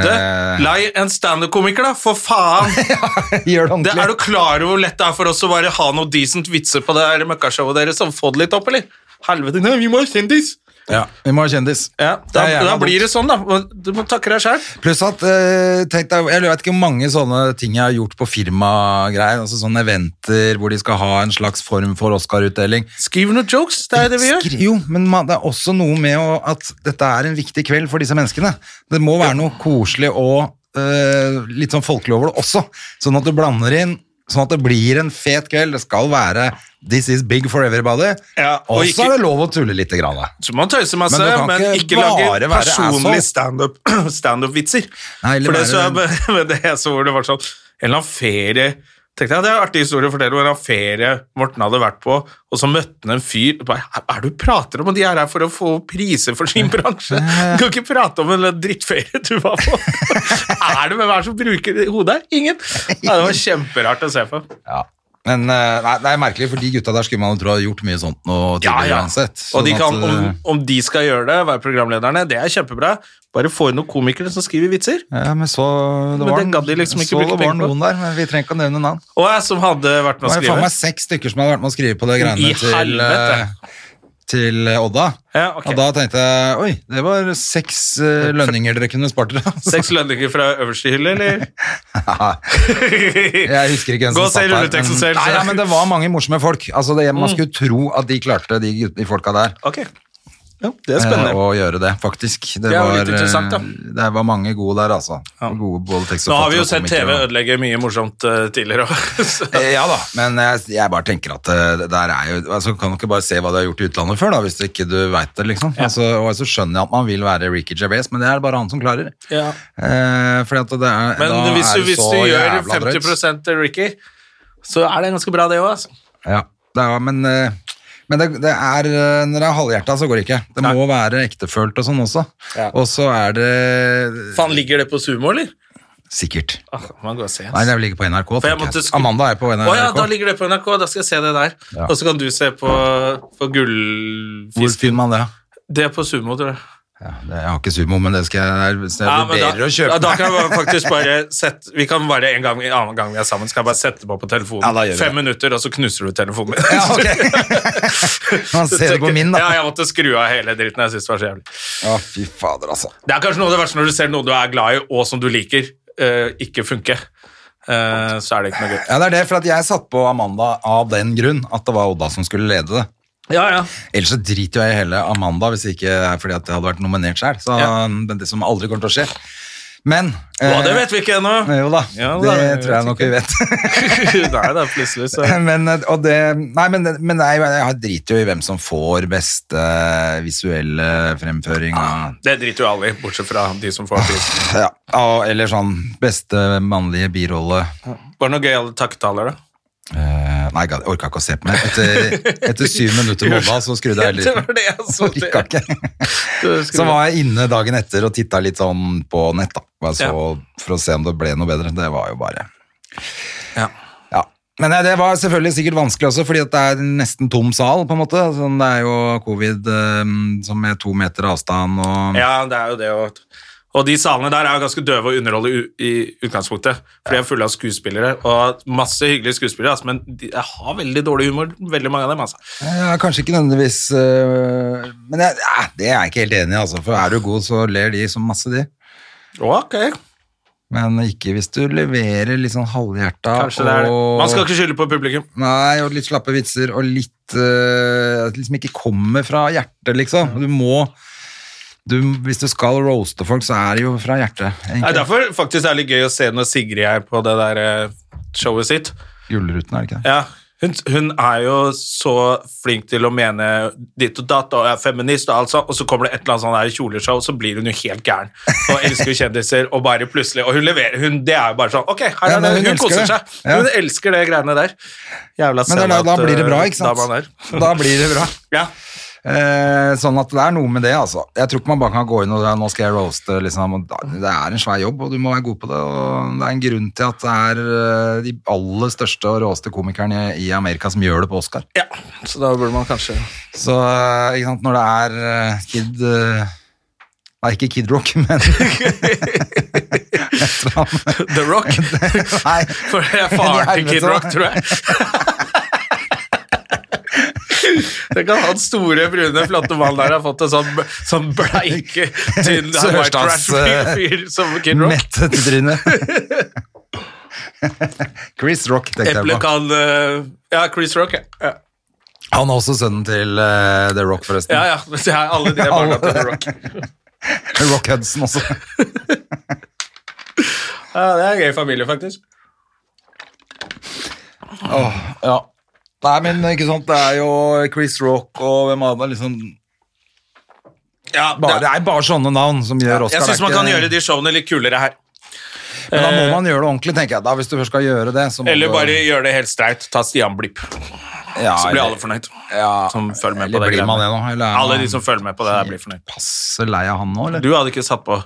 Speaker 2: Eh.
Speaker 1: lei en standup-komiker, da, for faen!
Speaker 2: Gjør det
Speaker 1: Det,
Speaker 2: ordentlig.
Speaker 1: er du klar over hvor lett det er for oss å bare ha noe decent vitser på det her møkkashowet deres og få det litt opp, eller? Helvete, nei, vi må ha kjendis!
Speaker 2: Ja, vi må ha kjendis.
Speaker 1: Ja,
Speaker 2: Det er
Speaker 1: da,
Speaker 2: jævla
Speaker 1: da blir
Speaker 2: dumt.
Speaker 1: det sånn, da. Du må takke deg sjæl.
Speaker 2: Pluss at eh, tenk deg, jeg vet ikke hvor mange sånne ting jeg har gjort på firmagreier. Altså sånne eventer hvor de skal ha en slags form for Oscar-utdeling.
Speaker 1: Skriv noen jokes, det er det vi gjør.
Speaker 2: Skri- Jo, men man, det er også noe med å, at dette er en viktig kveld for disse menneskene. Det må være noe koselig og eh, litt sånn folkelig over det også. Sånn at du blander inn, sånn at det blir en fet kveld. Det skal være This is big for everybody.
Speaker 1: Ja, og
Speaker 2: og
Speaker 1: ikke-
Speaker 2: så er det lov å tulle litt. Grann, da.
Speaker 1: Så man tøyser masse,
Speaker 2: Men du
Speaker 1: men,
Speaker 2: kan ikke
Speaker 1: ikke, lage
Speaker 2: bare være
Speaker 1: personlig
Speaker 2: asshole.
Speaker 1: standup- standup-vitser.
Speaker 2: Nei, eller
Speaker 1: For det, så
Speaker 2: være-
Speaker 1: jeg, men det jeg så hvor det var sånn En eller annen ferie tenkte jeg, Det er en artig historie å fortelle om en eller annen ferie Morten hadde vært på, og så møtte han en fyr og bare, Hva er det du prater om? Og de er her for å få priser for sin bransje. Du kan ikke prate om en eller annen drittferie du var på. er det med hver som bruker det i hodet her? Ingen. Ja, det var kjemperart å se på.
Speaker 2: Ja. Men eh, nei, det er merkelig, for de gutta der skulle man jo tro har gjort mye sånt nå tidligere uansett.
Speaker 1: Og de
Speaker 2: Sånn
Speaker 1: kan,
Speaker 2: at,
Speaker 1: om,
Speaker 2: eh,
Speaker 1: om de skal gjøre det, være programlederne, det er kjempebra. Bare få inn noen komikere som skriver vitser.
Speaker 2: eh, Ja, men så det
Speaker 1: Men
Speaker 2: var,
Speaker 1: det gadd de liksom ikke
Speaker 2: så
Speaker 1: bruke
Speaker 2: det var
Speaker 1: penger på.
Speaker 2: noen der, men vi trenger ikke å nevne navn.
Speaker 1: Og jeg som hadde vært
Speaker 2: Det
Speaker 1: med å
Speaker 2: var jo
Speaker 1: skrive.
Speaker 2: faen meg seks stykker som hadde vært med å skrive på det
Speaker 1: I
Speaker 2: greiene til, eh,
Speaker 1: helvete.
Speaker 2: til eh, Odda.
Speaker 1: Ja, ok.
Speaker 2: Og da tenkte jeg oi, det var seks eh, lønninger dere kunne spart dere. altså.
Speaker 1: Seks lønninger fra øverste hylle, eller?
Speaker 2: Jeg husker ikke hvem
Speaker 1: Gå og
Speaker 2: som
Speaker 1: se
Speaker 2: satt der.
Speaker 1: rulleteksten Mm. selv,
Speaker 2: nei,
Speaker 1: så-
Speaker 2: ja, men det var mange morsomme folk. Altså, det, man skulle tro at de klarte, de, gut- de folka der.
Speaker 1: Ok. Ja, det er
Speaker 2: eh,
Speaker 1: spennende.
Speaker 2: å gjøre det, faktisk. Det,
Speaker 1: Det er jo
Speaker 2: var,
Speaker 1: litt interessant, da.
Speaker 2: eh, Det var mange gode der, altså. Gode, både tekstforfattere
Speaker 1: Nå har vi jo
Speaker 2: og
Speaker 1: sett TV
Speaker 2: komikere, da.
Speaker 1: ødelegge mye morsomt eh, tidligere også. Så-
Speaker 2: Eh, Ja da, men jeg, jeg bare tenker at eh, det der er jo altså, Kan du ikke bare se hva du har gjort i utlandet før, da, hvis du ikke du veit det, liksom? Altså, og så skjønner jeg at man vil være Ricky Gervais, men det er det bare han som klarer.
Speaker 1: Ja.
Speaker 2: Eh, fordi at det er,
Speaker 1: Men
Speaker 2: da
Speaker 1: hvis du,
Speaker 2: er det
Speaker 1: hvis
Speaker 2: så
Speaker 1: du gjør
Speaker 2: jævla drøyt.
Speaker 1: 50 til Ricky, så er det ganske bra, det òg. Altså.
Speaker 2: Ja, det er, men, eh, men det, det er eh, Når det er halvhjerta, så går det ikke. Det må være ektefølt og sånn også.
Speaker 1: Ja.
Speaker 2: Og så er det
Speaker 1: Faen, ligger det på sumo, eller?
Speaker 2: Sikkert.
Speaker 1: Ah, man går og ser.
Speaker 2: Nei, det er vel ikke på NRK.
Speaker 1: For jeg
Speaker 2: tenker
Speaker 1: måtte
Speaker 2: jeg.
Speaker 1: skru-
Speaker 2: Amanda er på NRK.
Speaker 1: Å ja, da ligger det på NRK. Da skal jeg se det der.
Speaker 2: Ja.
Speaker 1: Og så kan du se på, på
Speaker 2: Hvor
Speaker 1: gullfisken.
Speaker 2: finner man det?
Speaker 1: Det er på sumo, tror jeg.
Speaker 2: Ja, det, jeg har ikke sumo, men det skal jeg, så jeg
Speaker 1: Ja, men
Speaker 2: vurderer
Speaker 1: da,
Speaker 2: å kjøpe.
Speaker 1: ja, da kan vi faktisk bare sette Vi kan bare en, gang, en annen gang vi er sammen, skal jeg bare sette på på telefonen.
Speaker 2: Ja, da gjør vi
Speaker 1: Fem
Speaker 2: det.
Speaker 1: minutter, og så knuser du telefonen min.
Speaker 2: Ja, ok. Man ser det på min, da.
Speaker 1: Ja, jeg måtte skru av hele dritten. Jeg synes det var så jævlig.
Speaker 2: Å, fy fader, altså.
Speaker 1: Det er kanskje noe av det verste når du ser noe du er glad i, og som du liker, eh, ikke funke. Eh, så er det ikke noe gøy.
Speaker 2: Ja, det er det, for at jeg satt på Amanda av den grunn at det var Odda som skulle lede det.
Speaker 1: Ja, ja.
Speaker 2: Ellers så driter jo jeg i hele Amanda hvis det ikke er fordi at jeg hadde vært nominert sjøl. Så
Speaker 1: Ja.
Speaker 2: det er det som aldri kommer til å skje. Men
Speaker 1: Å,
Speaker 2: eh,
Speaker 1: det vet vi ikke ennå.
Speaker 2: eh, Jo da,
Speaker 1: Ja,
Speaker 2: det
Speaker 1: da, jeg
Speaker 2: tror jeg
Speaker 1: vet
Speaker 2: nok vi vet.
Speaker 1: Nei, det er plutselig så
Speaker 2: men, eh, og det, nei, men, men nei, jeg driter jo i hvem som får beste eh, visuelle fremføring. Og,
Speaker 1: Det driter jo alle i, bortsett fra de som får prisen.
Speaker 2: Ja, og- eller sånn beste mannlige birolle.
Speaker 1: Var det noe gøy alle takketaler, da?
Speaker 2: Eh, nei, jeg orka ikke å se på mer. Etter, etter syv minutter med Odda, så skrudde jeg
Speaker 1: Det
Speaker 2: heller ut.
Speaker 1: var det jeg så.
Speaker 2: Jeg orka ikke. Så
Speaker 1: Som
Speaker 2: var jeg inne dagen etter og titta litt sånn på nett, da. Bare
Speaker 1: Ja.
Speaker 2: så, for å se om det ble noe bedre. Det var jo bare
Speaker 1: ja.
Speaker 2: Ja. Men eh, det var selvfølgelig sikkert vanskelig også, fordi at det er en nesten tom sal, på en måte. Sånn, det er jo covid eh, som med to meter avstand og
Speaker 1: Ja, det er jo det. Og, og de salene der er jo ganske døve å underholde i, i utgangspunktet. For de er fulle av skuespillere, og masse hyggelige skuespillere. Altså, men de jeg har veldig dårlig humor, veldig mange av dem. Altså.
Speaker 2: Ja, kanskje ikke nødvendigvis øh, Men jeg, ja, det er jeg ikke helt enig i, altså. For er du god, så ler de som masse, de.
Speaker 1: Ok,
Speaker 2: Men ikke hvis du leverer litt sånn halvhjerta
Speaker 1: kanskje det er det.
Speaker 2: og
Speaker 1: Man skal ikke skylde på publikum.
Speaker 2: Nei, og litt slappe vitser og litt øh, at det Liksom ikke kommer fra hjertet, liksom. Du må du, Hvis du skal roaste folk, så er det jo fra hjertet.
Speaker 1: Nei,
Speaker 2: egentlig.
Speaker 1: derfor faktisk er det litt gøy å se når Sigrid er på det der eh, showet sitt.
Speaker 2: Gullruten, er det ikke det?
Speaker 1: Ja, hun, hun er jo så flink til å mene ditt og datt og er feminist, og, alt sånt, og så kommer det et eller annet sånn der kjoleshow, så blir hun jo helt gæren. Og elsker jo kjendiser, og bare plutselig Og hun leverer hun, Det er jo bare sånn Ok, her
Speaker 2: Ja,
Speaker 1: er det,
Speaker 2: men
Speaker 1: hun,
Speaker 2: hun elsker
Speaker 1: koser
Speaker 2: det.
Speaker 1: seg.
Speaker 2: Ja.
Speaker 1: Hun elsker det greiene der. Jævla
Speaker 2: Men det er da, da
Speaker 1: sellout,
Speaker 2: blir det bra,
Speaker 1: eh,
Speaker 2: ikke sant?
Speaker 1: dama der.
Speaker 2: Da blir det bra.
Speaker 1: Ja.
Speaker 2: Eh, sånn at det er noe med det, altså. Jeg tror ikke man bare kan gå inn og nå skal jeg roaste, liksom. og da- Det er en svær jobb, og du må være god på det. Og det er en grunn til at det er eh, de aller største og råeste komikerne i Amerika som gjør det på Oscar.
Speaker 1: Ja, så da burde man kanskje
Speaker 2: Så eh, ikke sant, når det er eh, Kid eh, Nei, ikke Kid Rock, men Et eller annet.
Speaker 1: The Rock.
Speaker 2: Nei.
Speaker 1: For det er faren til Kid Rock, tror jeg. Det kan han store, brune, flotte mannen der har fått en sånn, sånn bleike, tynn white
Speaker 2: Sørstads,
Speaker 1: trash-fyr som Kid Rock.
Speaker 2: Mettete tryne. Chris Rock, tenkte
Speaker 1: Eple
Speaker 2: jeg på.
Speaker 1: kan eh, Ja, Chris Rock, ja. ja.
Speaker 2: Han er også sønnen til eh, The Rock, forresten.
Speaker 1: Ja, ja. Det er alle de er barna til The Rock.
Speaker 2: Rock Hudson også.
Speaker 1: Ja, det er en gøy familie, faktisk.
Speaker 2: Åh, ja. Nei, men ikke sant, det er jo Chris Rock og hvem annet liksom
Speaker 1: Ja,
Speaker 2: bare,
Speaker 1: det
Speaker 2: Det er bare sånne navn som gjør Oscar.
Speaker 1: jeg
Speaker 2: det er
Speaker 1: syns man kan
Speaker 2: ikke-
Speaker 1: gjøre de showene litt kulere her.
Speaker 2: Men da må man gjøre det ordentlig, tenker jeg. Da, hvis du først skal gjøre det, så må
Speaker 1: Eller
Speaker 2: du
Speaker 1: bare gjøre det helt streit. Ta Stian Blipp,
Speaker 2: ja,
Speaker 1: så blir
Speaker 2: eller-
Speaker 1: alle fornøyd.
Speaker 2: ja,
Speaker 1: som følger med på
Speaker 2: eller
Speaker 1: det
Speaker 2: blir
Speaker 1: greiene.
Speaker 2: man det nå? Eller er
Speaker 1: Alle
Speaker 2: man
Speaker 1: de som følger med på det, der blir fornøyd.
Speaker 2: passe lei av han nå, eller?
Speaker 1: Du hadde ikke satt på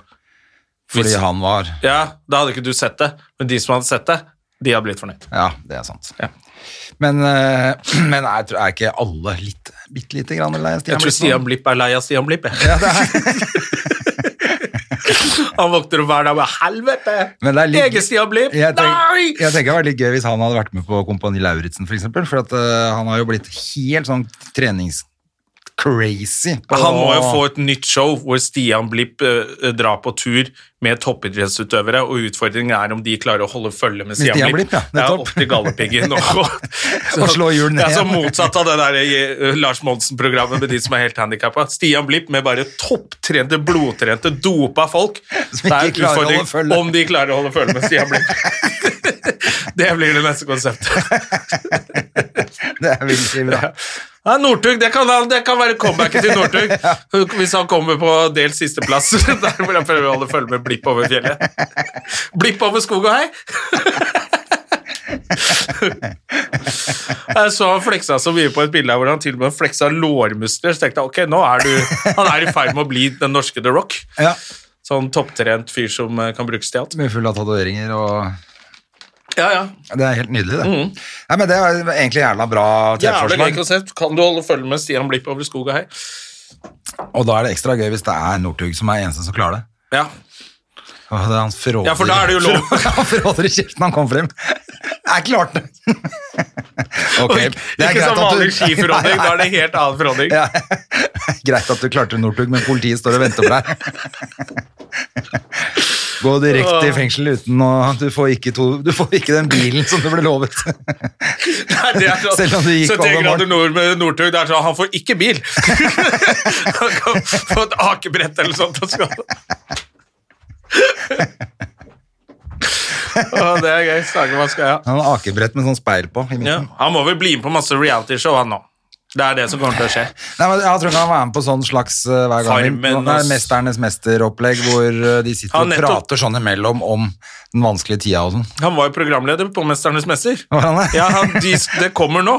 Speaker 2: Fordi
Speaker 1: hvis-
Speaker 2: han var
Speaker 1: Ja, da hadde ikke du sett det, men de som hadde sett det, de hadde blitt fornøyd.
Speaker 2: Ja, det er sant.
Speaker 1: Ja.
Speaker 2: Men, eh, men er, tror- er ikke alle litt, bitte lite grann lei av Stian
Speaker 1: Jeg tror
Speaker 2: Blipp nå?
Speaker 1: Stian Blipp er lei av Stian Blipp, jeg. han våkner opp hver dag med 'helvete'!
Speaker 2: Men det er litt-
Speaker 1: Egen Stian Blipp!
Speaker 2: Jeg
Speaker 1: Nei!
Speaker 2: tenker, jeg tenker det var litt gøy hvis han hadde vært med på Kompani Lauritzen, for eksempel. For at, eh, han har jo blitt helt sånn treningscrazy. på-
Speaker 1: Han må jo få et nytt show hvor Stian Blipp eh, drar på tur med toppidrettsutøvere, og utfordringen er om de klarer å holde følge med Stian,
Speaker 2: Stian
Speaker 1: Blipp.
Speaker 2: Blipp, ja, nettopp.
Speaker 1: opp til Galdhøpiggen og,
Speaker 2: Og slå hjulene
Speaker 1: Ja, så
Speaker 2: igjen.
Speaker 1: motsatt av det der eh, Lars Monsen-programmet med de som er helt handikappa. Stian Blipp med bare topptrente, blodtrente, dopa folk.
Speaker 2: Som
Speaker 1: Det er
Speaker 2: ikke klarer å holde
Speaker 1: utfordring
Speaker 2: følge.
Speaker 1: om de klarer å holde følge med Stian Blipp. det blir det neste konseptet.
Speaker 2: Det er veldig bra.
Speaker 1: Ja, Northug, det, kan- det kan være comebacket til Northug. Hvis han kommer på delt sisteplass. Der vil han prøve å holde følge med blipp over fjellet. Blipp over skog og hei! Jeg så han fleksa så mye på et bilde her hvor han til og med fleksa lårmuskler. Så tenkte jeg ok, nå er du, han er i ferd med å bli den norske The Rock.
Speaker 2: Ja.
Speaker 1: Sånn topptrent fyr som eh, kan brukes til alt.
Speaker 2: Mye full av tatoveringer og
Speaker 1: Ja, ja.
Speaker 2: Det er helt nydelig, det. Nei, men det er egentlig jævla bra
Speaker 1: Jævlig Mm. gøy
Speaker 2: TV-forslag.
Speaker 1: konsept. Kan du holde følge med Stian Blipp over skog og hei?
Speaker 2: Og da er det ekstra gøy hvis det er Northug som er eneste som klarer det.
Speaker 1: Ja,
Speaker 2: Åh, det er han fråder,
Speaker 1: Ja, for da er det jo lov.
Speaker 2: Han fråder i kjeften han kom frem. Jeg klarte det! Ok,
Speaker 1: Ikke- ikke som vanlig skifråding, da er det helt annen fråding.
Speaker 2: Ja. Greit at du klarte Northug, men politiet står og venter på deg. Gå direkte i fengsel uten å Du får ikke, to, du får ikke den bilen som du ble lovet.
Speaker 1: Nei, det er sånn-
Speaker 2: Selv om du gikk
Speaker 1: 71
Speaker 2: over
Speaker 1: grader
Speaker 2: morgenen.
Speaker 1: nord med Northug, det er sånn, han får ikke bil. han kan få et akebrett eller sånt. Og skal. Å, det er gøy. Snakke man skal ha.
Speaker 2: Han har akebrett med sånn speil på. I midten.
Speaker 1: Ja. Han må vel bli med på masse realityshow, han nå. Det er det som kommer til å skje.
Speaker 2: Nei, men Jeg tror ikke han var med på sånn slags eh, hver gang.
Speaker 1: Farmen og-
Speaker 2: Nå- Nei, Mesternes mester-opplegg, hvor eh, de sitter
Speaker 1: Ja,
Speaker 2: og
Speaker 1: nettopp.
Speaker 2: prater sånn imellom om den vanskelige tida og sånn.
Speaker 1: Han var jo programleder på 'Mesternes mester'.
Speaker 2: Var han det?
Speaker 1: Ja, han, de, det kommer nå.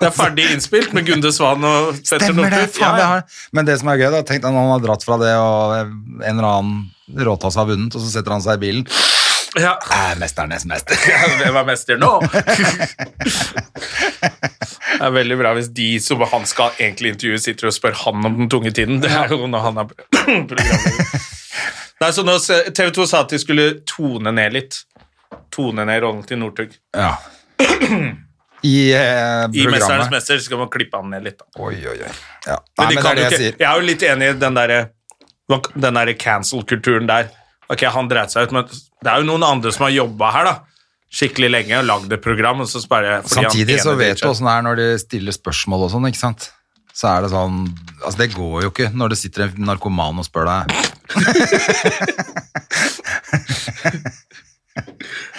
Speaker 1: Det er ferdig innspilt med Gunde Svan og Petter
Speaker 2: Stemmer det,
Speaker 1: Northug.
Speaker 2: faen det har Men det som er gøy da, tenk deg når han har dratt fra det Og en eller annen råtass har vunnet Og så setter han seg i bilen
Speaker 1: ja.
Speaker 2: Er mesternes mester
Speaker 1: Ja, Hvem er mester nå? Det er veldig bra hvis de som han skal egentlig intervjue, sitter og spør han om den tunge tiden. Det er jo når han er programleder. Nei, så nå se- TV 2 sa at de skulle tone ned litt. Tone ned rollen til Northug.
Speaker 2: Ja I eh,
Speaker 1: I 'Mesternes
Speaker 2: programmet
Speaker 1: mester' skal man klippe han ned litt. Da.
Speaker 2: Oi, oi, oi ja.
Speaker 1: Men, de
Speaker 2: Nei, men
Speaker 1: kan
Speaker 2: det er
Speaker 1: jo
Speaker 2: det jeg
Speaker 1: ikke,
Speaker 2: sier
Speaker 1: jeg er jo litt enig i den derre den der cancel-kulturen der. Ok, han dreit seg ut, men det er jo noen andre som har jobba her, da. Skikkelig lenge og lagd et program, og så bare fordi han
Speaker 2: Samtidig så
Speaker 1: ene driter seg ut.
Speaker 2: vet du hvordan det er når de stiller spørsmål og sånn, ikke sant? Så er det sånn, altså det går jo ikke når det sitter en narkoman og spør deg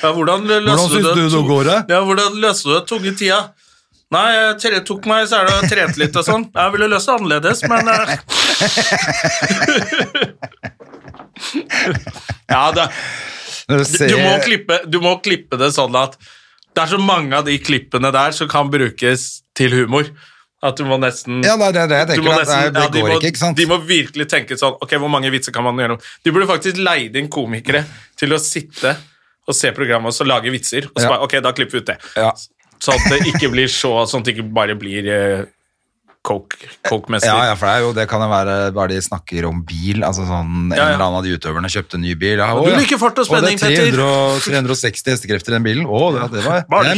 Speaker 1: Ja, hvordan løste du
Speaker 2: Hvordan syns
Speaker 1: det?
Speaker 2: du det går, da?
Speaker 1: Ja, hvordan løste du det tunge tida? Nei, jeg tre- tok meg så er det trent litt og sånn. Jeg ville løst det annerledes, men eh. Ja, det,
Speaker 2: Når
Speaker 1: du, du, må klippe, du må klippe det sånn at det er så mange av de klippene der som kan brukes til humor. At du må nesten
Speaker 2: Ja, det er det jeg
Speaker 1: du
Speaker 2: tenker.
Speaker 1: må
Speaker 2: at det er-
Speaker 1: nesten-
Speaker 2: det
Speaker 1: ja, de
Speaker 2: går
Speaker 1: må-
Speaker 2: ikke, ikke sant?
Speaker 1: De må virkelig tenke sånn Ok, hvor mange vitser kan man gjøre om? De burde faktisk leid inn komikere til å sitte og se programmet og så lage vitser. Og så
Speaker 2: Ja.
Speaker 1: bare Ok, da klipper vi ut det.
Speaker 2: Ja.
Speaker 1: Sånn at det ikke blir så Sånn at det ikke bare blir eh, coke- coke-mester.
Speaker 2: Ja, ja, for det, er jo, det kan jo være bare de snakker om bil. altså sånn En
Speaker 1: Ja, ja.
Speaker 2: eller annen av de utøverne kjøpte ny bil. Ja,
Speaker 1: Du liker fart og spenning,
Speaker 2: Petter.
Speaker 1: Petter.
Speaker 2: Og det er 300, 360 hestekrefter i den bilen. Å, det, det var
Speaker 1: Bare
Speaker 2: det er-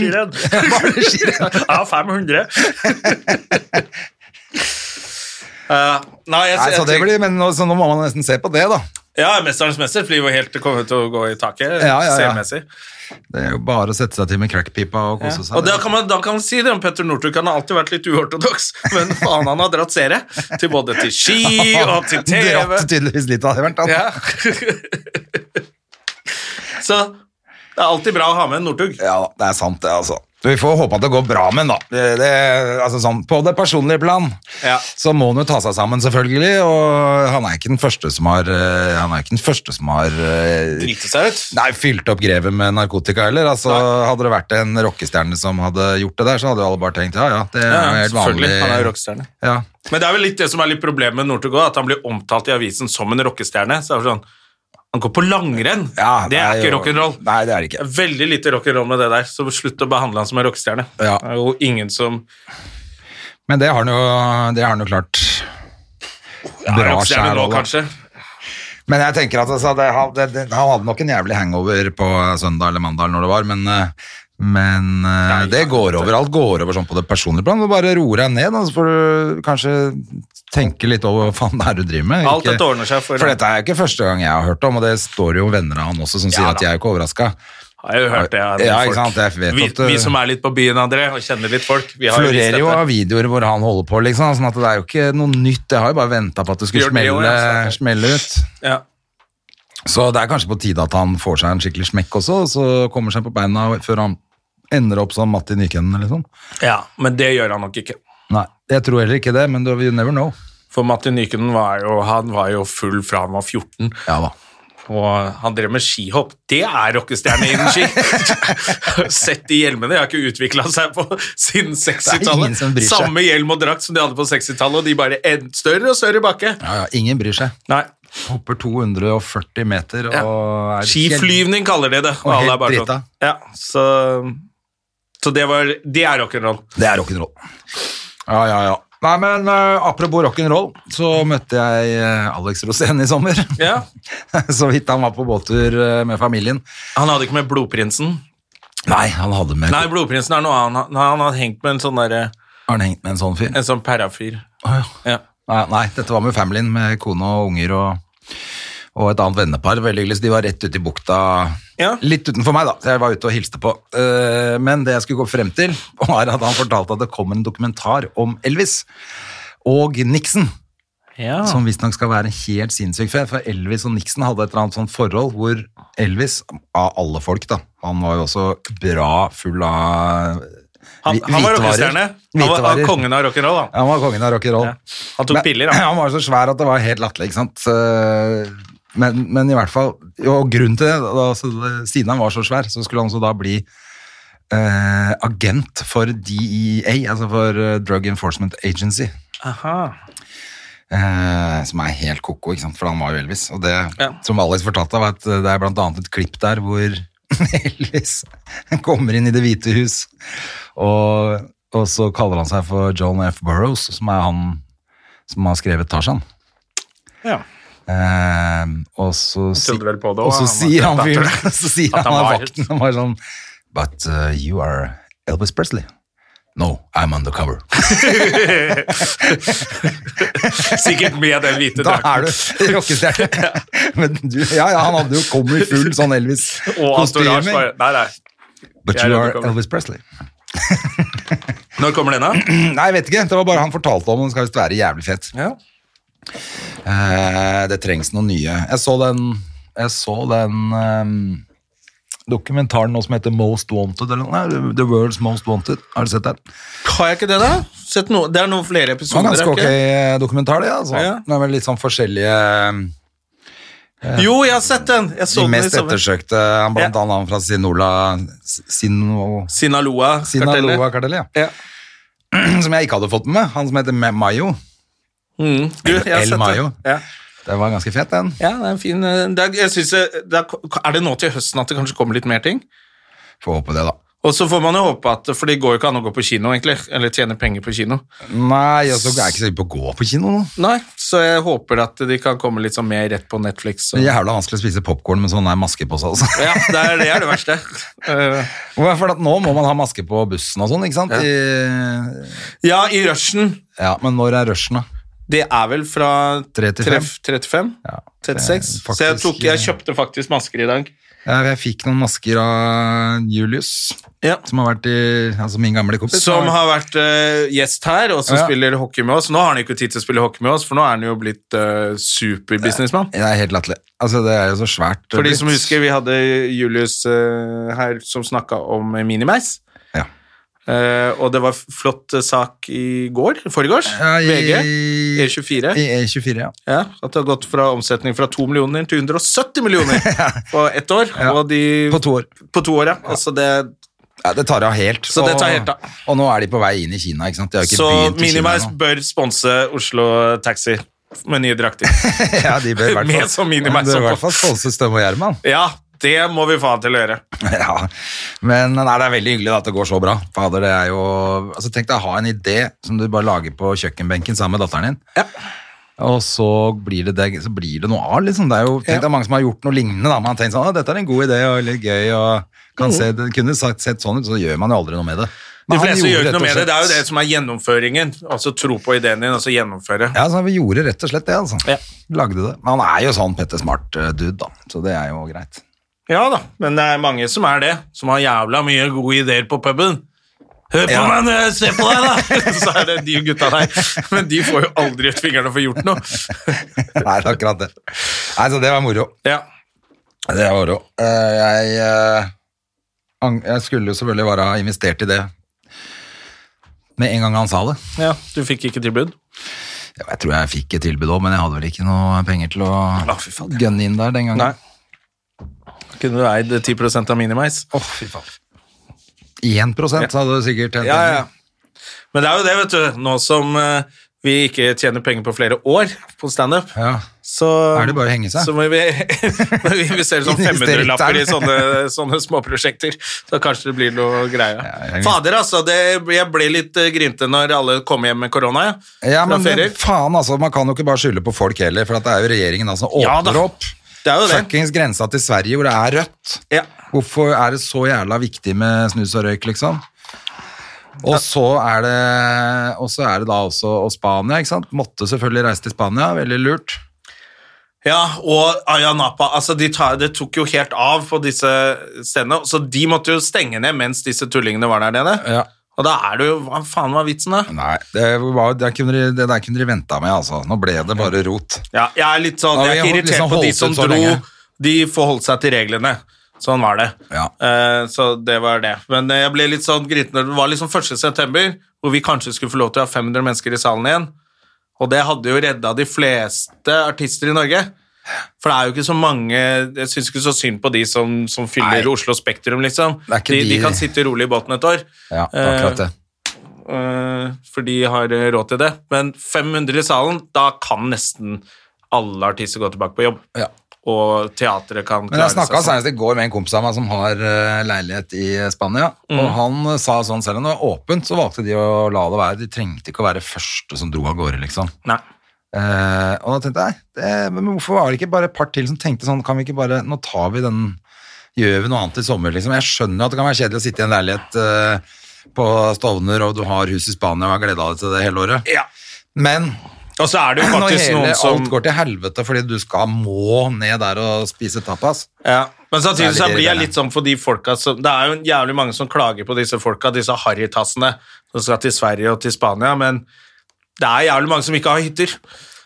Speaker 1: skirenn.
Speaker 2: Bare skirenn.
Speaker 1: Ja, 500. Eh, nei, jeg,
Speaker 2: Nei, så
Speaker 1: jeg
Speaker 2: det
Speaker 1: tenker-
Speaker 2: blir, men nå, så nå må man nesten se på det, da.
Speaker 1: Ja, Mesterens mester blir jo helt kommet til å gå i taket.
Speaker 2: Ja, ja, ja.
Speaker 1: Selvmessig.
Speaker 2: Det er jo bare å sette seg til med crackpipa og kose seg.
Speaker 1: Og da kan, man, da kan man si det om Petter Northug. Han har alltid vært litt uortodoks, men faen, han har dratt seere. Til både til ski og til TV.
Speaker 2: Dratt tydeligvis litt av hvert. da.
Speaker 1: Ja. Så det er alltid bra å ha med en Northug.
Speaker 2: Ja, da, det er sant, det, altså. Vi får håpe at det går bra med den, da. Det, det, altså, sånn, på det personlige plan
Speaker 1: Ja.
Speaker 2: så må han jo ta seg sammen, selvfølgelig. Og han er ikke den første som har eh, Han er ikke den første som har eh,
Speaker 1: Drite seg ut.
Speaker 2: Nei, fylt opp grevet med narkotika heller. Altså, hadde det vært en rockestjerne som hadde gjort det der, så hadde jo alle bare tenkt ja, ja, det er
Speaker 1: Ja,
Speaker 2: jo helt vanlig.
Speaker 1: selvfølgelig. Han er jo rockestjerne.
Speaker 2: Ja.
Speaker 1: Men det er vel litt det som er litt problemet med Northug òg, at han blir omtalt i avisen som en rockestjerne. Så er det sånn Han går på langrenn!
Speaker 2: Ja,
Speaker 1: det er
Speaker 2: jo-
Speaker 1: ikke rock'n'roll.
Speaker 2: Nei, det er det
Speaker 1: Det
Speaker 2: ikke.
Speaker 1: er Veldig lite rock'n'roll med det der, så slutt å behandle han som en rockestjerne.
Speaker 2: Ja.
Speaker 1: Det er jo ingen som
Speaker 2: Men det har han jo, det har han jo klart.
Speaker 1: er
Speaker 2: Bra
Speaker 1: rockestjerne nå,
Speaker 2: skjærhold, da.
Speaker 1: kanskje.
Speaker 2: Men jeg tenker at altså, det, han, det, det, han hadde nok en jævlig hangover på eh, søndag eller mandag eller når det var, men, eh, men eh,
Speaker 1: Nei,
Speaker 2: det
Speaker 1: ja,
Speaker 2: går over. Alt går over sånn på det personlige plan. Du bare roer deg ned, og så får du kanskje tenke litt over hva faen det er du driver med.
Speaker 1: Alt dette ordner seg for-
Speaker 2: For dette er jo ikke første gang jeg har hørt om, og det står jo venner av han også som sier
Speaker 1: Ja, da.
Speaker 2: at jeg er jo ikke overraska.
Speaker 1: Har jeg jo hørt det av
Speaker 2: Ja,
Speaker 1: folk.
Speaker 2: ikke sant, jeg vet
Speaker 1: vi,
Speaker 2: at du-
Speaker 1: vi som er litt på byen, André, og kjenner litt folk, vi har jo visst
Speaker 2: Florerer jo
Speaker 1: dette.
Speaker 2: av videoer hvor han holder på, liksom. Sånn at det er jo ikke noe nytt. Jeg har jo bare venta på at det skulle
Speaker 1: Gjør det jo,
Speaker 2: smelle,
Speaker 1: ja, sant.
Speaker 2: smelle ut.
Speaker 1: Ja.
Speaker 2: Så det er kanskje på tide at han får seg en skikkelig smekk også, og så kommer seg på beina før han ender opp som Matti Nykänen, liksom.
Speaker 1: ja, men det gjør han nok ikke.
Speaker 2: Nei, jeg tror heller ikke det, men du, you never know.
Speaker 1: For Martin Nykänen var, jo- han var jo full fra han var 14,
Speaker 2: Ja da.
Speaker 1: og han drev med skihopp. Det er rockestjerne innen ski! Sett de hjelmene, de har ikke utvikla seg på siden
Speaker 2: ingen som
Speaker 1: 60-tallet.
Speaker 2: bryr seg.
Speaker 1: Samme hjelm og drakt som de hadde på 60-tallet, og de bare en, større og større bakke.
Speaker 2: Ja, ja, ingen bryr seg.
Speaker 1: Nei.
Speaker 2: Hopper 240 meter og er
Speaker 1: Skiflyvning kaller de det.
Speaker 2: Og
Speaker 1: alle
Speaker 2: helt
Speaker 1: er bare sånn.
Speaker 2: drita.
Speaker 1: Ja, så, så det var Det er rock'n'roll.
Speaker 2: Det er rock'n'roll. Ja, ja, ja. Nei, men eh, apropos rock'n'roll, så møtte jeg eh, Alex Rosén i sommer.
Speaker 1: Ja.
Speaker 2: så vidt han var på båttur eh, med familien.
Speaker 1: Han hadde ikke med Blodprinsen.
Speaker 2: Nei, han hadde med
Speaker 1: Nei, Blodprinsen er noe annet. Han, han hadde hengt med en sånn derre
Speaker 2: Har han hengt med en sånn fyr?
Speaker 1: En sånn parafyr.
Speaker 2: Å, ja.
Speaker 1: Ja.
Speaker 2: Nei, nei, dette var med familien, med kone og unger og, og et annet vennepar. Veldig hyggelig, så de var rett ute i bukta,
Speaker 1: Ja.
Speaker 2: litt utenfor meg da, så jeg var ute og hilste på. Eh, Men det jeg skulle gå frem til, var at han fortalte at det kommer en dokumentar om Elvis og Nixon.
Speaker 1: Ja.
Speaker 2: Som visstnok skal være helt sinnssyk fe, for Elvis og Nixon hadde et eller annet sånt forhold hvor Elvis, av alle folk da, han var jo også bra full av
Speaker 1: Han,
Speaker 2: hvi-
Speaker 1: han var
Speaker 2: hvitevarer.
Speaker 1: rockestjerne. Han var, var
Speaker 2: Hvitevarer.
Speaker 1: kongen av rock'n'roll, han.
Speaker 2: Han var kongen av rock'n'roll.
Speaker 1: Ja. Han tok
Speaker 2: Men-
Speaker 1: piller, han.
Speaker 2: var så svær at det var helt latterlig, ikke sant. Eh, Men, men i hvert fall Og grunnen til det, da, altså, siden han var så svær, så skulle han også da bli eh, agent for DEA, altså for eh, Drug Enforcement Agency.
Speaker 1: Aha.
Speaker 2: Eh, som er helt koko, ikke sant? for han var jo Elvis. Og det
Speaker 1: Ja.
Speaker 2: som Alex fortalte, var at eh, det er blant annet et klipp der hvor Elvis kommer inn i Det hvite hus, og, og så kaller han seg for John F. Burroughs, som er han som har skrevet Tarzan.
Speaker 1: Ja.
Speaker 2: Eh, og så, si,
Speaker 1: trodde vel på det
Speaker 2: og
Speaker 1: også,
Speaker 2: så
Speaker 1: han var-
Speaker 2: sier han
Speaker 1: Ja,
Speaker 2: fyren
Speaker 1: tror jeg.
Speaker 2: Så sier
Speaker 1: At
Speaker 2: han,
Speaker 1: han var-
Speaker 2: vakten han var sånn But uh, you are Elvis Presley. No, I'm undercover.
Speaker 1: Sikkert med den hvite
Speaker 2: Da
Speaker 1: drakten.
Speaker 2: er du rockestjerne. Men du, ja, ja, han hadde jo kommet i full sånn
Speaker 1: Og Astorage
Speaker 2: Elvis-kostyme.
Speaker 1: bare Nei, nei.
Speaker 2: But
Speaker 1: Jeg er
Speaker 2: you are
Speaker 1: undercover.
Speaker 2: Elvis Presley.
Speaker 1: Når kommer den, da?
Speaker 2: Nei, jeg vet ikke. Det var bare han fortalte om, og den skal visst være jævlig fett.
Speaker 1: Ja.
Speaker 2: Eh, det trengs noen nye. Jeg så den, jeg så den ehm, dokumentaren nå som heter Most Wanted, eller noe. Nei, The World's Most Wanted. Har du sett den?
Speaker 1: Har jeg ikke det, da? Sett noe- det er noen flere
Speaker 2: Det var
Speaker 1: episoder.
Speaker 2: ganske
Speaker 1: er
Speaker 2: ok
Speaker 1: ikke det?
Speaker 2: dokumentar, det. altså.
Speaker 1: Ja.
Speaker 2: Det er vel litt sånn forskjellige ehm,
Speaker 1: Jo, jeg har sett den! Jeg så
Speaker 2: De
Speaker 1: den i
Speaker 2: mest
Speaker 1: sommer.
Speaker 2: ettersøkte, han blant
Speaker 1: Ja.
Speaker 2: annet han fra Sinola Sino,
Speaker 1: Sinaloa-kartellet.
Speaker 2: Sinaloa-kartellet, ja.
Speaker 1: Ja.
Speaker 2: som jeg ikke hadde fått med meg, han som heter Ma- Mayo.
Speaker 1: Mm. Du, jeg har
Speaker 2: El
Speaker 1: sett
Speaker 2: Mayo.
Speaker 1: det. Ja.
Speaker 2: Det var ganske fett, den.
Speaker 1: ja, det er en fin eh, det er, jeg synes det, det er, er det nå til høsten at det kanskje kommer litt mer ting?
Speaker 2: Får håpe det, da.
Speaker 1: Og så får man jo håpe at For det går jo ikke an å gå på kino, egentlig. Eller tjene penger på kino.
Speaker 2: Nei, og så er jeg ikke så hypp på å gå på kino nå.
Speaker 1: Nei, så jeg håper at de kan komme litt sånn mer rett på Netflix.
Speaker 2: Det
Speaker 1: Og...
Speaker 2: er jævla vanskelig å spise popkorn med sånn der maske på seg. Altså.
Speaker 1: Ja, det er det, er det verste. Eh,
Speaker 2: Hvorfor? For at nå må man ha maske på bussen og sånn, ikke sant?
Speaker 1: Ja.
Speaker 2: I,
Speaker 1: ja, i rushen.
Speaker 2: ja, men når er rushen, da?
Speaker 1: Det er vel fra
Speaker 2: Tre til fem?
Speaker 1: treff- 35?
Speaker 2: Ja, det er
Speaker 1: 36? så jeg, tok,
Speaker 2: faktisk- eh,
Speaker 1: jeg kjøpte faktisk masker i dag.
Speaker 2: Ja, Jeg fikk noen masker av Julius,
Speaker 1: Ja.
Speaker 2: som har vært i Altså min gamle kompis.
Speaker 1: Som har vært eh, gjest her, og som
Speaker 2: Ja.
Speaker 1: spiller hockey med oss. Nå har han ikke tid til å spille hockey med oss, for nå er han jo blitt eh, superbusinessmann.
Speaker 2: Det er helt latterlig. Altså, det er jo så svært.
Speaker 1: For de som husker, vi hadde Julius eh, her som snakka om Minimeis.
Speaker 2: Ja.
Speaker 1: Eh, og det var flott eh, sak i går, forgårs,
Speaker 2: Ja, i-
Speaker 1: VG, E E24,
Speaker 2: I E24, ja.
Speaker 1: ja, at det har gått fra omsetning fra 2 millioner til 170 millioner på ett år,
Speaker 2: Ja.
Speaker 1: og de,
Speaker 2: På to år.
Speaker 1: på to år, ja. Altså det,
Speaker 2: Ja, det tar av helt.
Speaker 1: Så det tar helt av.
Speaker 2: Og, og nå er de på vei inn i Kina, ikke sant? De har jo ikke
Speaker 1: så
Speaker 2: begynt i Kina
Speaker 1: Minimize
Speaker 2: nå.
Speaker 1: bør sponse Oslo Taxi med nye drakter.
Speaker 2: ja, de bør i hvert fall,
Speaker 1: Med sånn Minimize
Speaker 2: de
Speaker 1: oppå.
Speaker 2: bør i hvert fall sponse Støm og Gjerman.
Speaker 1: ja, det må vi faen til å gjøre.
Speaker 2: Ja, men nei, det er veldig hyggelig da, at det går så bra. Fader, det er jo... Altså, tenk deg å ha en idé som du bare lager på kjøkkenbenken sammen med datteren din. Og så blir det, det, så blir det noe av, liksom. Det er jo, tenk
Speaker 1: Ja.
Speaker 2: deg mange som har gjort noe lignende, da. Man har tenkt sånn, «Å, dette er en god idé, og litt gøy, og kan se, det kunne sagt, sett sånn ut, så gjør man jo aldri noe med det. Men
Speaker 1: Mm. De
Speaker 2: han
Speaker 1: fleste
Speaker 2: gjorde
Speaker 1: gjør ikke
Speaker 2: rett og
Speaker 1: noe med det.
Speaker 2: slett-
Speaker 1: Det er jo det som er gjennomføringen. Altså tro på ideen din, og så gjennomføre.
Speaker 2: Ja, så vi gjorde rett og slett det, altså.
Speaker 1: Ja.
Speaker 2: Lagde det. Men han er jo sånn Petter Smart-dude, da. Så det er jo greit.
Speaker 1: Ja da, men det er mange som er det. Som har jævla mye gode ideer på puben. Hør på
Speaker 2: Ja.
Speaker 1: meg når jeg ser på deg, da! Så er det de gutta der. Men de får jo aldri ut fingrene for gjort noe.
Speaker 2: Nei, det er akkurat det. Nei, så det var moro.
Speaker 1: Ja.
Speaker 2: Det var det jo. Eh, Jeg, eh, ang- jeg skulle jo selvfølgelig bare ha investert i det med en gang han sa det.
Speaker 1: ja, du fikk ikke tilbud?
Speaker 2: Ja, Jeg tror jeg fikk et tilbud òg, men jeg hadde vel ikke noe penger til å
Speaker 1: Ja, Ah, fy faen.
Speaker 2: gønne inn der den gangen.
Speaker 1: Nei. Kunne du eid 10 av Minimeis?
Speaker 2: Åh, fy faen. 1 så hadde du sikkert tjent
Speaker 1: Ja,
Speaker 2: penger.
Speaker 1: ja. Men det er jo det, vet du. Nå som eh, vi ikke tjener penger på flere år på standup,
Speaker 2: Ja.
Speaker 1: så
Speaker 2: Er det bare å henge seg?
Speaker 1: Så må vi, må vi investere sånn
Speaker 2: Investere i
Speaker 1: 500-lapper i
Speaker 2: tern.
Speaker 1: sånne, sånne småprosjekter. Så kanskje det blir noe greie.
Speaker 2: Ja, jeg-
Speaker 1: Fader, altså. Det, jeg ble litt eh, grinte når alle kom hjem med korona. Ja,
Speaker 2: Ja,
Speaker 1: Fra
Speaker 2: men
Speaker 1: ferier.
Speaker 2: faen altså, Man kan jo ikke bare skylde på folk heller, for at det er jo regjeringen da som
Speaker 1: Ja, da.
Speaker 2: åpner opp.
Speaker 1: Det er jo det.
Speaker 2: Fuckings grensa til Sverige, hvor det er rødt.
Speaker 1: Ja.
Speaker 2: Hvorfor er det så jævla viktig med snus og røyk, liksom? Og så er det, og så er det da også og Spania, ikke sant? Måtte selvfølgelig reise til Spania, veldig lurt.
Speaker 1: Ja, og Aya Napa. Altså, de tar, det tok jo helt av på disse stedene. Så de måtte jo stenge ned mens disse tullingene var der nede.
Speaker 2: Ja.
Speaker 1: Og da er det jo Hva faen var vitsen, da?
Speaker 2: Nei, det, var, det, kunne de, det der kunne de venta med, altså. Nå ble det bare rot.
Speaker 1: Ja, jeg er litt sånn Jeg
Speaker 2: Ja,
Speaker 1: er
Speaker 2: vi har
Speaker 1: ikke irritert
Speaker 2: liksom
Speaker 1: på de
Speaker 2: holdt
Speaker 1: som
Speaker 2: ut så
Speaker 1: dro.
Speaker 2: lenge.
Speaker 1: De forholdt seg til reglene. Sånn var det.
Speaker 2: Ja.
Speaker 1: Eh, så det var det. Men eh, jeg ble litt sånn grinten når det var liksom 1. september, hvor vi kanskje skulle få lov til å ha 500 mennesker i salen igjen. Og det hadde jo redda de fleste artister i Norge. For det er jo ikke så mange Jeg syns ikke så synd på de som, som fyller
Speaker 2: Nei.
Speaker 1: Oslo Spektrum, liksom.
Speaker 2: Det er ikke
Speaker 1: De, de
Speaker 2: de-
Speaker 1: kan sitte rolig i båten et år.
Speaker 2: Ja, det er akkurat det.
Speaker 1: Eh, for de har eh, råd til det. Men 500 i salen, da kan nesten alle artister gå tilbake på jobb.
Speaker 2: Ja.
Speaker 1: Og teatret kan
Speaker 2: Men jeg
Speaker 1: klare
Speaker 2: snakka
Speaker 1: seg sånn.
Speaker 2: senest i går med en kompis av meg som har eh, leilighet i Spania. Og
Speaker 1: Mm.
Speaker 2: han eh, sa sånn, selv om det var åpent, så valgte de å la det være. De trengte ikke å være første som dro av gårde, liksom.
Speaker 1: Nei.
Speaker 2: Eh, og da tenkte jeg, det, men hvorfor var det ikke bare et par til som tenkte sånn, kan vi ikke bare, nå tar vi den, gjør vi noe annet i sommer, liksom. Jeg skjønner at det kan være kjedelig å sitte i en leilighet eh, på Stovner, og du har hus i Spania og har glede av deg til det hele året.
Speaker 1: Ja.
Speaker 2: Men
Speaker 1: Og så er det jo
Speaker 2: når
Speaker 1: faktisk
Speaker 2: hele
Speaker 1: noen som
Speaker 2: alt går til helvete fordi du skal må ned der og spise tapas,
Speaker 1: ja. Men samtidig
Speaker 2: Det er
Speaker 1: så
Speaker 2: litt
Speaker 1: blir jeg
Speaker 2: irriterende.
Speaker 1: litt sånn for de folka som Det er jo jævlig mange som klager på disse folka, disse harrytassene som skal til Sverige og til Spania, men det er jævlig mange som ikke har hytter.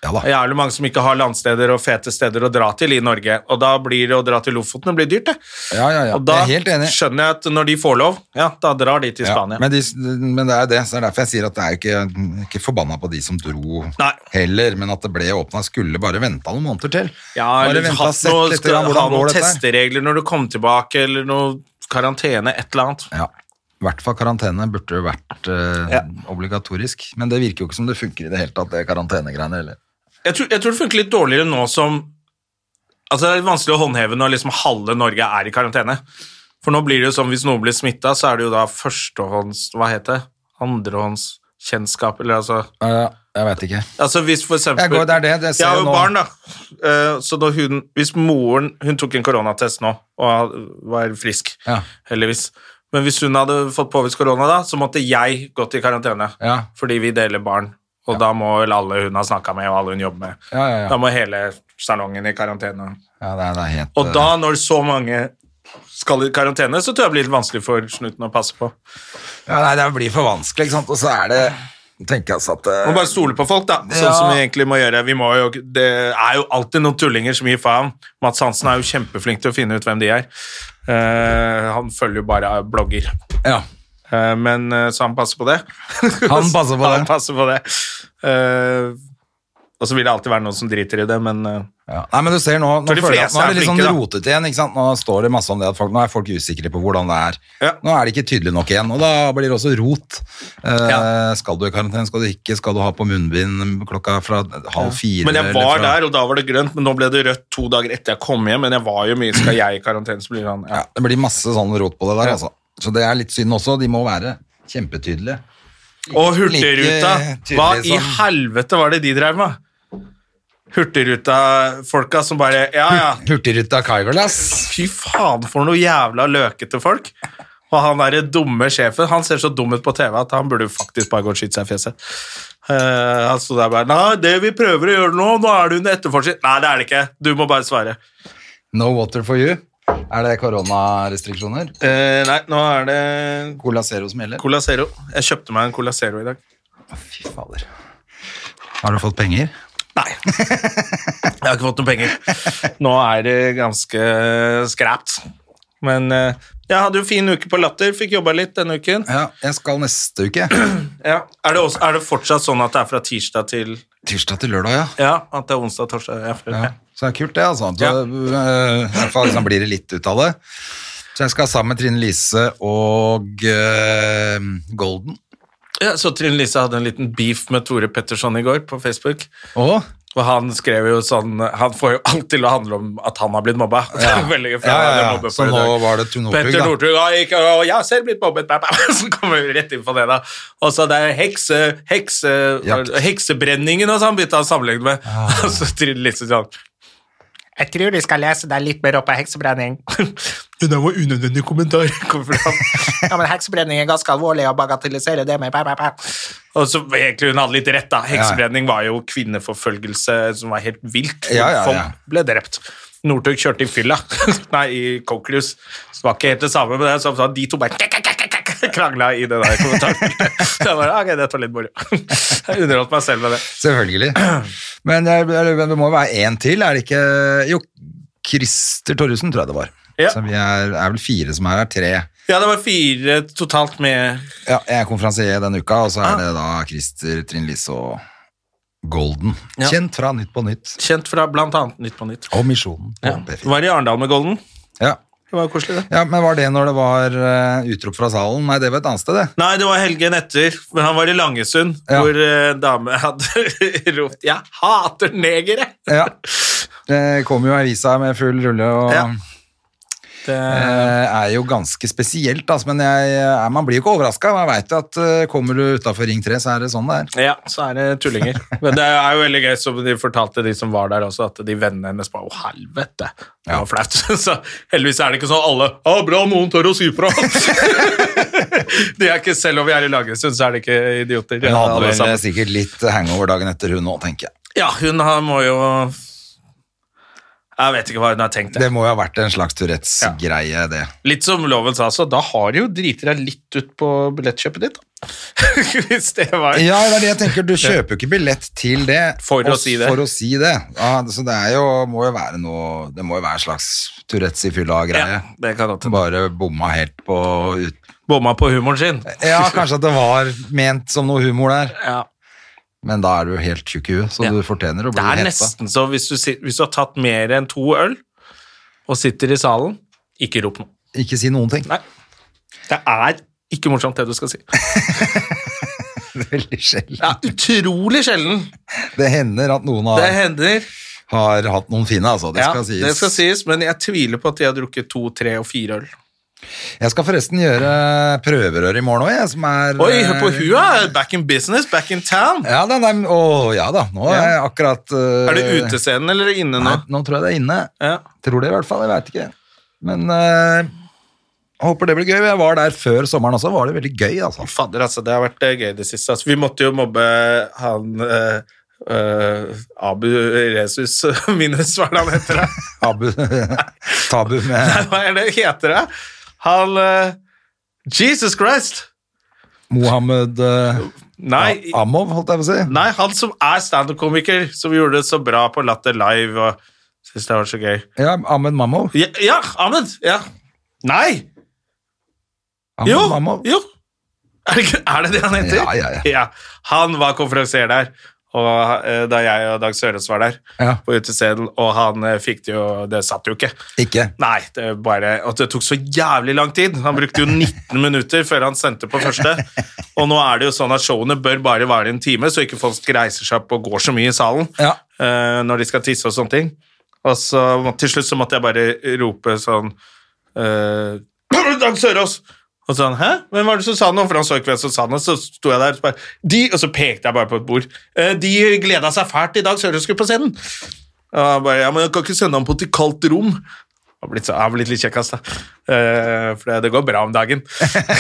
Speaker 2: ja da.
Speaker 1: Det er jævlig mange som ikke har landsteder og fete steder å dra til i Norge. Og da blir det å dra til Lofoten det blir dyrt, det.
Speaker 2: Ja, ja, ja.
Speaker 1: Og da
Speaker 2: jeg er helt enig.
Speaker 1: skjønner jeg at når de får lov, ja, da drar de til
Speaker 2: Ja,
Speaker 1: Spania.
Speaker 2: men, de, men det er jo det, så det er derfor jeg sier at det er jo ikke, ikke forbanna på de som dro
Speaker 1: Nei.
Speaker 2: heller, men at det ble åpna, skulle bare venta noen måneder til.
Speaker 1: ja,
Speaker 2: bare
Speaker 1: eller
Speaker 2: venta
Speaker 1: hatt
Speaker 2: sett
Speaker 1: noe,
Speaker 2: litt
Speaker 1: skal,
Speaker 2: grann
Speaker 1: ha
Speaker 2: hvordan
Speaker 1: noen
Speaker 2: går dette her.
Speaker 1: testeregler når du kom tilbake, eller noe karantene, et eller annet.
Speaker 2: Ja. I hvert fall karantene burde jo vært eh,
Speaker 1: Ja.
Speaker 2: obligatorisk. Men det virker jo ikke som det funker i det hele tatt, det karantenegreiene heller.
Speaker 1: Jeg tror, jeg tror det funker litt dårligere nå som Altså, det er vanskelig å håndheve når liksom halve Norge er i karantene. For nå blir det jo sånn, hvis noen blir smitta, så er det jo da førstehånds Hva heter det? Andrehåndskjennskap, eller altså
Speaker 2: Eh, jeg veit ikke.
Speaker 1: Altså hvis for eksempel
Speaker 2: Jeg går- det er det, det ser
Speaker 1: Jeg har
Speaker 2: jeg
Speaker 1: jo
Speaker 2: nå.
Speaker 1: barn, da. Eh, Så da hun Hvis moren Hun tok en koronatest nå og var frisk,
Speaker 2: Ja.
Speaker 1: heldigvis. Men hvis hun hadde fått påvist korona da, så måtte jeg gått i karantene.
Speaker 2: Ja.
Speaker 1: Fordi vi deler barn, og da må vel alle hun har snakka med, og alle hun jobber med
Speaker 2: Ja, ja, ja.
Speaker 1: Da må hele salongen i karantene.
Speaker 2: Ja, det er, det er helt
Speaker 1: Og da, når så mange skal i karantene, så tror jeg det blir litt vanskelig for snuten å passe på.
Speaker 2: eh, Ja, nei, det blir for vanskelig, ikke sant. Og så er det tenker jeg altså at eh,
Speaker 1: Man må bare stole på folk, da. Sånn
Speaker 2: Ja.
Speaker 1: som vi egentlig må gjøre. Vi må jo, det er jo alltid noen tullinger som gir faen. Mats Hansen er jo kjempeflink til å finne ut hvem de er. Eh, han følger jo bare blogger.
Speaker 2: Ja.
Speaker 1: Eh, men eh, Så han passer på det.
Speaker 2: Han passer på
Speaker 1: han
Speaker 2: det.
Speaker 1: passer på det. Eh, og så vil det alltid være noen som driter i det, men eh,
Speaker 2: Ja. Nei, men du ser nå, nå,
Speaker 1: For de
Speaker 2: føler jeg, at
Speaker 1: fleste
Speaker 2: nå
Speaker 1: er
Speaker 2: er det litt sånn
Speaker 1: flinke, da.
Speaker 2: rotet igjen, ikke sant? Nå står det masse om det at folk, nå er folk usikre på hvordan det er.
Speaker 1: Ja.
Speaker 2: Nå er det ikke tydelig nok igjen, og da blir det også rot. Eh,
Speaker 1: Ja.
Speaker 2: Skal du i karantene, skal du ikke, skal du ha på munnbind klokka fra halv fire?
Speaker 1: Men jeg
Speaker 2: eller
Speaker 1: var
Speaker 2: fra-
Speaker 1: der, og da var det grønt, men nå ble det rødt to dager etter jeg kom hjem. Men jeg var jo mye Skal jeg i karantene, så blir det sånn ja.
Speaker 2: Ja, det blir masse sånn rot på det der,
Speaker 1: Ja.
Speaker 2: altså. Så det er litt synd også, de må være kjempetydelige.
Speaker 1: Og Hurtigruta!
Speaker 2: tydelig
Speaker 1: Hva
Speaker 2: som-
Speaker 1: i helvete var det de drev med? Hurtigruta-folka som bare Ja, ja.
Speaker 2: Hurtigruta Kaivel, ass.
Speaker 1: Fy faen, for noe jævla løkete folk! Og han derre dumme sjefen, han ser så dum ut på TV at han burde jo faktisk bare gå og skyte seg i fjeset. Eh, han sto der bare Nei, det vi prøver å gjøre nå, nå er det under etterforskning. Nei, det er det ikke. Du må bare svare.
Speaker 2: No water for you. Er det koronarestriksjoner?
Speaker 1: Eh, nei, nå er det
Speaker 2: Cola Zero som gjelder?
Speaker 1: Cola Zero. Jeg kjøpte meg en Cola Zero i dag.
Speaker 2: Fy fader. Har du fått penger?
Speaker 1: Nei. Jeg har ikke fått noen penger. Nå er det ganske skræpt. Men eh, jeg hadde jo fin uke på Latter, fikk jobba litt denne uken.
Speaker 2: Ja, jeg skal neste uke.
Speaker 1: Ja. Er, det også, er det fortsatt sånn at det er fra tirsdag til
Speaker 2: Tirsdag til lørdag, ja.
Speaker 1: Ja, at det er onsdag, torsdag ja, fredag.
Speaker 2: Ja, Så det er kult, det, altså. Så,
Speaker 1: Ja.
Speaker 2: øh, I hvert fall liksom, blir det litt ut av det. Så jeg skal sammen med Trine Lise og øh, Golden.
Speaker 1: Ja, så Trine Lise hadde en liten beef med Tore Petterson i går på Facebook.
Speaker 2: Og
Speaker 1: Og han skrev jo sånn Han får jo alt til å handle om at han har blitt mobba. Det er veldig gøy, for
Speaker 2: Ja,
Speaker 1: han
Speaker 2: ja,
Speaker 1: hadde
Speaker 2: ja.
Speaker 1: mobbet
Speaker 2: Så
Speaker 1: for i
Speaker 2: nå
Speaker 1: dag.
Speaker 2: var det Tun Opphug,
Speaker 1: Petter
Speaker 2: da.
Speaker 1: Northug, «Ja, jeg- og jeg har selv blitt mobbet. bæ, bæ, bæ». Så kommer vi rett inn på det, da. Og så det er hekse, hekse,
Speaker 2: Jakt.
Speaker 1: heksebrenningen og sånn, begynte han å sammenligne med. Og så Trine Lise sånn Jeg tror du skal lese deg litt mer opp av heksebrenning. Det der var unødvendig kommentar. Kom fram. ja, men heksebrenning er ganske alvorlig, og bagatellisere det med bæ, bæ, bæ. Og så egentlig hun hadde litt rett, da. Heksebrenning var jo kvinneforfølgelse som var helt vilt.
Speaker 2: Ja, ja, ja.
Speaker 1: Folk ble drept. Northug kjørte i fylla, nei, i Cochleus. Så det var ikke helt det samme med det. Så sa de to bare kak, kak, kak, kak, krangla i det der kommentaren. Så jeg bare, ok, dette var litt moro. Jeg underholdt meg selv med det.
Speaker 2: Selvfølgelig. Men jeg, jeg, men det må være én til, er det ikke Jo, Christer Torjussen, tror jeg det var.
Speaker 1: Ja.
Speaker 2: Så vi er, er vel fire som er her. Tre.
Speaker 1: Ja, det var fire totalt med
Speaker 2: Ja, jeg er konferansier denne uka, og så er
Speaker 1: Ah.
Speaker 2: det da Christer, Trine Lise og Golden.
Speaker 1: Ja.
Speaker 2: Kjent fra Nytt på Nytt
Speaker 1: kjent fra blant annet Nytt på Nytt.
Speaker 2: og Misjonen. på
Speaker 1: Ja.
Speaker 2: P4.
Speaker 1: Var i Arendal med Golden.
Speaker 2: Ja.
Speaker 1: Det var jo koselig, det.
Speaker 2: ja, Men var det når det var eh, utrop fra salen? Nei, det var et annet sted, det.
Speaker 1: Nei, det var helgen etter, men han var i Langesund,
Speaker 2: Ja.
Speaker 1: hvor eh, dame hadde ropt 'Jeg hater negere!'
Speaker 2: Ja. Det kom jo avisa med full rulle og
Speaker 1: Ja. Det,
Speaker 2: eh, er jo ganske spesielt, altså, men jeg, eh, man blir jo ikke overraska. Man veit jo at eh, kommer du utafor Ring 3, så er det sånn det er.
Speaker 1: ja, så er det tullinger. Men det er jo veldig gøy, som de fortalte de som var der også, at de vennene hennes bare 'Å, helvete!' Det var flaut. Så heldigvis er det ikke sånn alle 'Å, bra, noen tør å si fra'. de er ikke, selv om vi er i Langesund, så er de ikke idioter.
Speaker 2: Hun hadde
Speaker 1: Alle
Speaker 2: vel
Speaker 1: sammen.
Speaker 2: eh, sikkert litt hangover dagen etter, hun òg, tenker jeg.
Speaker 1: Ja, hun har, må jo Jeg vet ikke hva hun har tenkt. jeg.
Speaker 2: Det må jo ha vært en slags Tourettes-greie, det.
Speaker 1: Litt som loven sa, så da har du jo driti deg litt ut på billettkjøpet ditt. da. Hvis det var
Speaker 2: Ja, det er det jeg tenker. Du kjøper jo ikke billett til det
Speaker 1: For å
Speaker 2: og-
Speaker 1: si det.
Speaker 2: For å si det. Ja, så det er jo, må jo være noe Det må jo være en slags Tourettes i fylla-greie.
Speaker 1: Ja, det kan godt hende.
Speaker 2: Bare bomma helt på ut...
Speaker 1: Bomma på humoren sin.
Speaker 2: Ja, kanskje at det var ment som noe humor der,
Speaker 1: Ja.
Speaker 2: men da er du jo helt tjukk i huet, så
Speaker 1: Ja.
Speaker 2: du fortjener å bli
Speaker 1: Det er
Speaker 2: hetta.
Speaker 1: nesten så hvis du, sit- hvis du har tatt mer enn to øl og sitter i salen, ikke rop noe.
Speaker 2: Ikke si noen ting.
Speaker 1: Nei. Det er Ikke morsomt, det du skal si.
Speaker 2: Veldig sjelden.
Speaker 1: Det er utrolig sjelden
Speaker 2: Det hender at noen
Speaker 1: det
Speaker 2: har,
Speaker 1: hender.
Speaker 2: har hatt noen fine, altså. Det
Speaker 1: Ja,
Speaker 2: skal sies.
Speaker 1: det skal sies, men jeg tviler på at de har drukket to, tre og fire øl.
Speaker 2: Jeg skal forresten gjøre prøverør i morgen òg, jeg, som er eh,
Speaker 1: Oi, hør på hua! Back in business, back in town!
Speaker 2: Ja da, nei, men- å, ja da. Nå er jeg akkurat eh,
Speaker 1: Er det utescenen eller inne nå?
Speaker 2: Nei, nå tror jeg det er inne.
Speaker 1: Ja.
Speaker 2: Tror det i hvert fall, jeg veit ikke. Men eh, håper det blir gøy. Jeg var der før sommeren også, var det veldig gøy, altså.
Speaker 1: Fadder, altså, det har vært eh, gøy det siste. Altså, vi måtte jo mobbe han eh, eh, Abu Resus minus, hva er det han heter? da?
Speaker 2: Abu, tabu
Speaker 1: Nei,
Speaker 2: med
Speaker 1: hva er det heter det? Han eh, Jesus Christ!
Speaker 2: Mohammed eh,
Speaker 1: Nei,
Speaker 2: A- Amov, holdt jeg på å si.
Speaker 1: nei han som er standup-komiker, som gjorde det så bra på Latter Live og syns det var så gøy.
Speaker 2: Ja, Ahmed Mamov.
Speaker 1: Ja, ja Ahmed! Ja. Nei!
Speaker 2: Ahmed
Speaker 1: Jo!
Speaker 2: Mamov.
Speaker 1: jo. Er, det, ikke- er det det han heter?
Speaker 2: Ja, ja, ja.
Speaker 1: Han var konferansier der, og, eh, da jeg og Dag Sørås var der
Speaker 2: Ja.
Speaker 1: på utescenen, og han eh, fikk det jo Det satt jo ikke.
Speaker 2: Ikke.
Speaker 1: Nei, det bare Og det tok så jævlig lang tid. Han brukte jo 19 minutter før han sendte på første. Og nå er det jo sånn at showene bør bare vare en time, så ikke folk reiser seg opp og går så mye i salen
Speaker 2: Ja.
Speaker 1: eh, når de skal tisse og sånne ting. Og så må- til slutt så måtte jeg bare rope sånn eh, Dag Sørås! Og sånn, hæ? Hvem var det som sa noe? For han så ikke hvem som sa noe. Så sto jeg der og så bare, de, og så pekte jeg bare på et bord. Eh, de gleda seg fælt i Dag Sørås skulle på scenen. Og han bare, ja, men jeg kan ikke sende ham på til kaldt rom. Han har blitt, så- han har blitt litt kjekkas, da. Eh, for det, det går bra om dagen.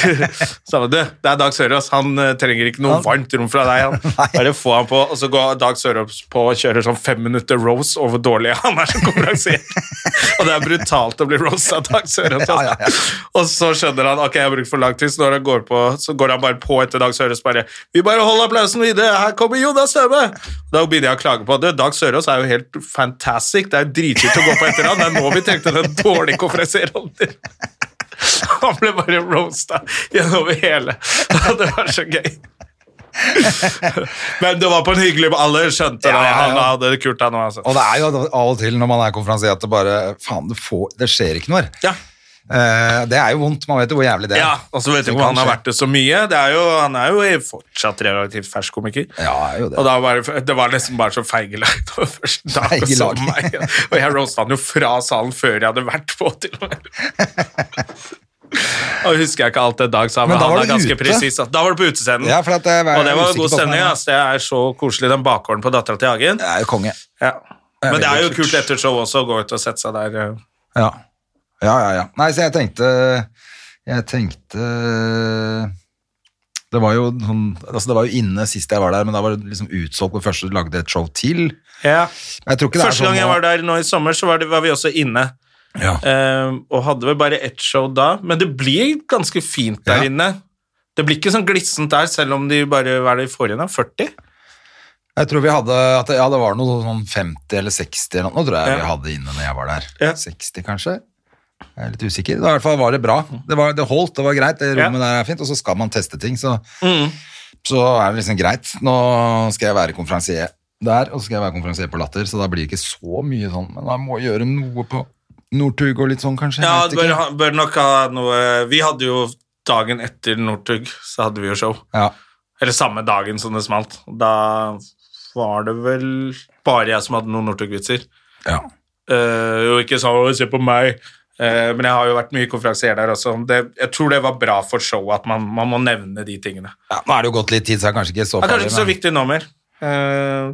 Speaker 1: så han, du, det er Dag Sørås. Han eh, trenger ikke noe varmt rom fra deg. Han. Bare få han på, og så går Dag Sørås på og kjører sånn fem minutter rose over dårlig han er som konferansier. og det er brutalt å bli roast av Dag Sørås. altså.
Speaker 2: Ja, ja, ja.
Speaker 1: Og så skjønner han ok, jeg har brukt for lang tid, så når han går på, så går han bare på etter Dag Sørås bare Vi bare holder applausen videre, her kommer Jonas Støme! Da begynner jeg å klage på det. Dag Sørås er jo helt fantastic, det er jo dritkult å gå på etter han. Det er nå vi trengte den dårlige konferansierrollen din. Han ble bare roasta gjennom hele. Og det var så gøy. Men det var på en hyggelig Alle skjønte
Speaker 2: Ja,
Speaker 1: det.
Speaker 2: ja, ja.
Speaker 1: Han hadde det kult, han òg. Altså.
Speaker 2: Og det er jo av og til når man er konferansier at det bare Faen, det, får, det skjer ikke noe her.
Speaker 1: Ja.
Speaker 2: Eh, det er jo vondt. Man vet jo hvor jævlig det er.
Speaker 1: Ja, og så vet
Speaker 2: Det
Speaker 1: du hvor
Speaker 2: kan
Speaker 1: han har
Speaker 2: skje.
Speaker 1: vært det så mye. Det er jo, han er jo fortsatt relativt fersk komiker.
Speaker 2: Ja, er jo det.
Speaker 1: Og da var det, det var nesten bare så feigelag. Det var første dag jeg så
Speaker 2: Feigelag.
Speaker 1: meg. Og jeg roasta han jo fra salen før jeg hadde vært på, til og med. Og husker jeg ikke alt det Dag sa, men,
Speaker 2: Men da
Speaker 1: han
Speaker 2: var
Speaker 1: er
Speaker 2: du
Speaker 1: ganske
Speaker 2: ute.
Speaker 1: presis. at- Da var du på utescenen.
Speaker 2: Ja, for at eh, jeg var
Speaker 1: og det var
Speaker 2: usikker
Speaker 1: god
Speaker 2: på hvordan
Speaker 1: stemning.
Speaker 2: det var.
Speaker 1: ass. Det er så koselig, den bakgården på Dattera til Hagen.
Speaker 2: Det er jo konge.
Speaker 1: Ja.
Speaker 2: er
Speaker 1: Men det er
Speaker 2: veldig
Speaker 1: jo
Speaker 2: kult.
Speaker 1: kult etter show også å gå ut og sette seg der. eh.
Speaker 2: Ja. ja, ja, ja. Nei, så jeg tenkte Jeg tenkte Det var jo sånn Altså, det var jo inne sist jeg var der, men da var det liksom utsolgt på første du lagde et show til.
Speaker 1: Ja.
Speaker 2: Jeg tror ikke det er
Speaker 1: Første
Speaker 2: sånn
Speaker 1: gang jeg var der nå i sommer, så var, det, var vi også inne.
Speaker 2: Ja.
Speaker 1: Eh, og hadde vel bare ett show da, men det blir ganske fint der
Speaker 2: Ja.
Speaker 1: inne. Det blir ikke sånn glissent der, selv om de bare hva er det de får igjen av 40.
Speaker 2: Jeg tror vi hadde at, Ja, det var noe sånn 50 eller 60 eller noe, tror jeg
Speaker 1: Ja.
Speaker 2: vi hadde inne når jeg var der.
Speaker 1: Ja.
Speaker 2: 60, kanskje? Jeg er litt usikker. I hvert fall var det bra. Det, var, det holdt, det var greit. Det rommet der er fint, og så skal man teste ting, så,
Speaker 1: Mm.
Speaker 2: så er det liksom greit. Nå skal jeg være konferansier der, og så skal jeg være konferansier på Latter, så da blir det ikke så mye sånn, men da må jeg gjøre noe på Northug og litt sånn, kanskje.
Speaker 1: Ja,
Speaker 2: Jeg
Speaker 1: det
Speaker 2: vet
Speaker 1: bør,
Speaker 2: ikke.
Speaker 1: ha- bør nok ha noe Vi hadde jo dagen etter Northug, så hadde vi jo show.
Speaker 2: ja.
Speaker 1: Eller samme dagen som det smalt. Da var det vel bare jeg som hadde noen Northug-vitser.
Speaker 2: ja.
Speaker 1: Eh, jo ikke sånn 'Å, 'se på meg', Eh, men jeg har jo vært mye konferansier der også. Det, jeg tror det var bra for showet at man, man må nevne de tingene.
Speaker 2: ja. Nå er det jo gått litt tid, så jeg er kanskje ikke så
Speaker 1: Det er kanskje ikke så
Speaker 2: men-
Speaker 1: viktig nå mer, eh,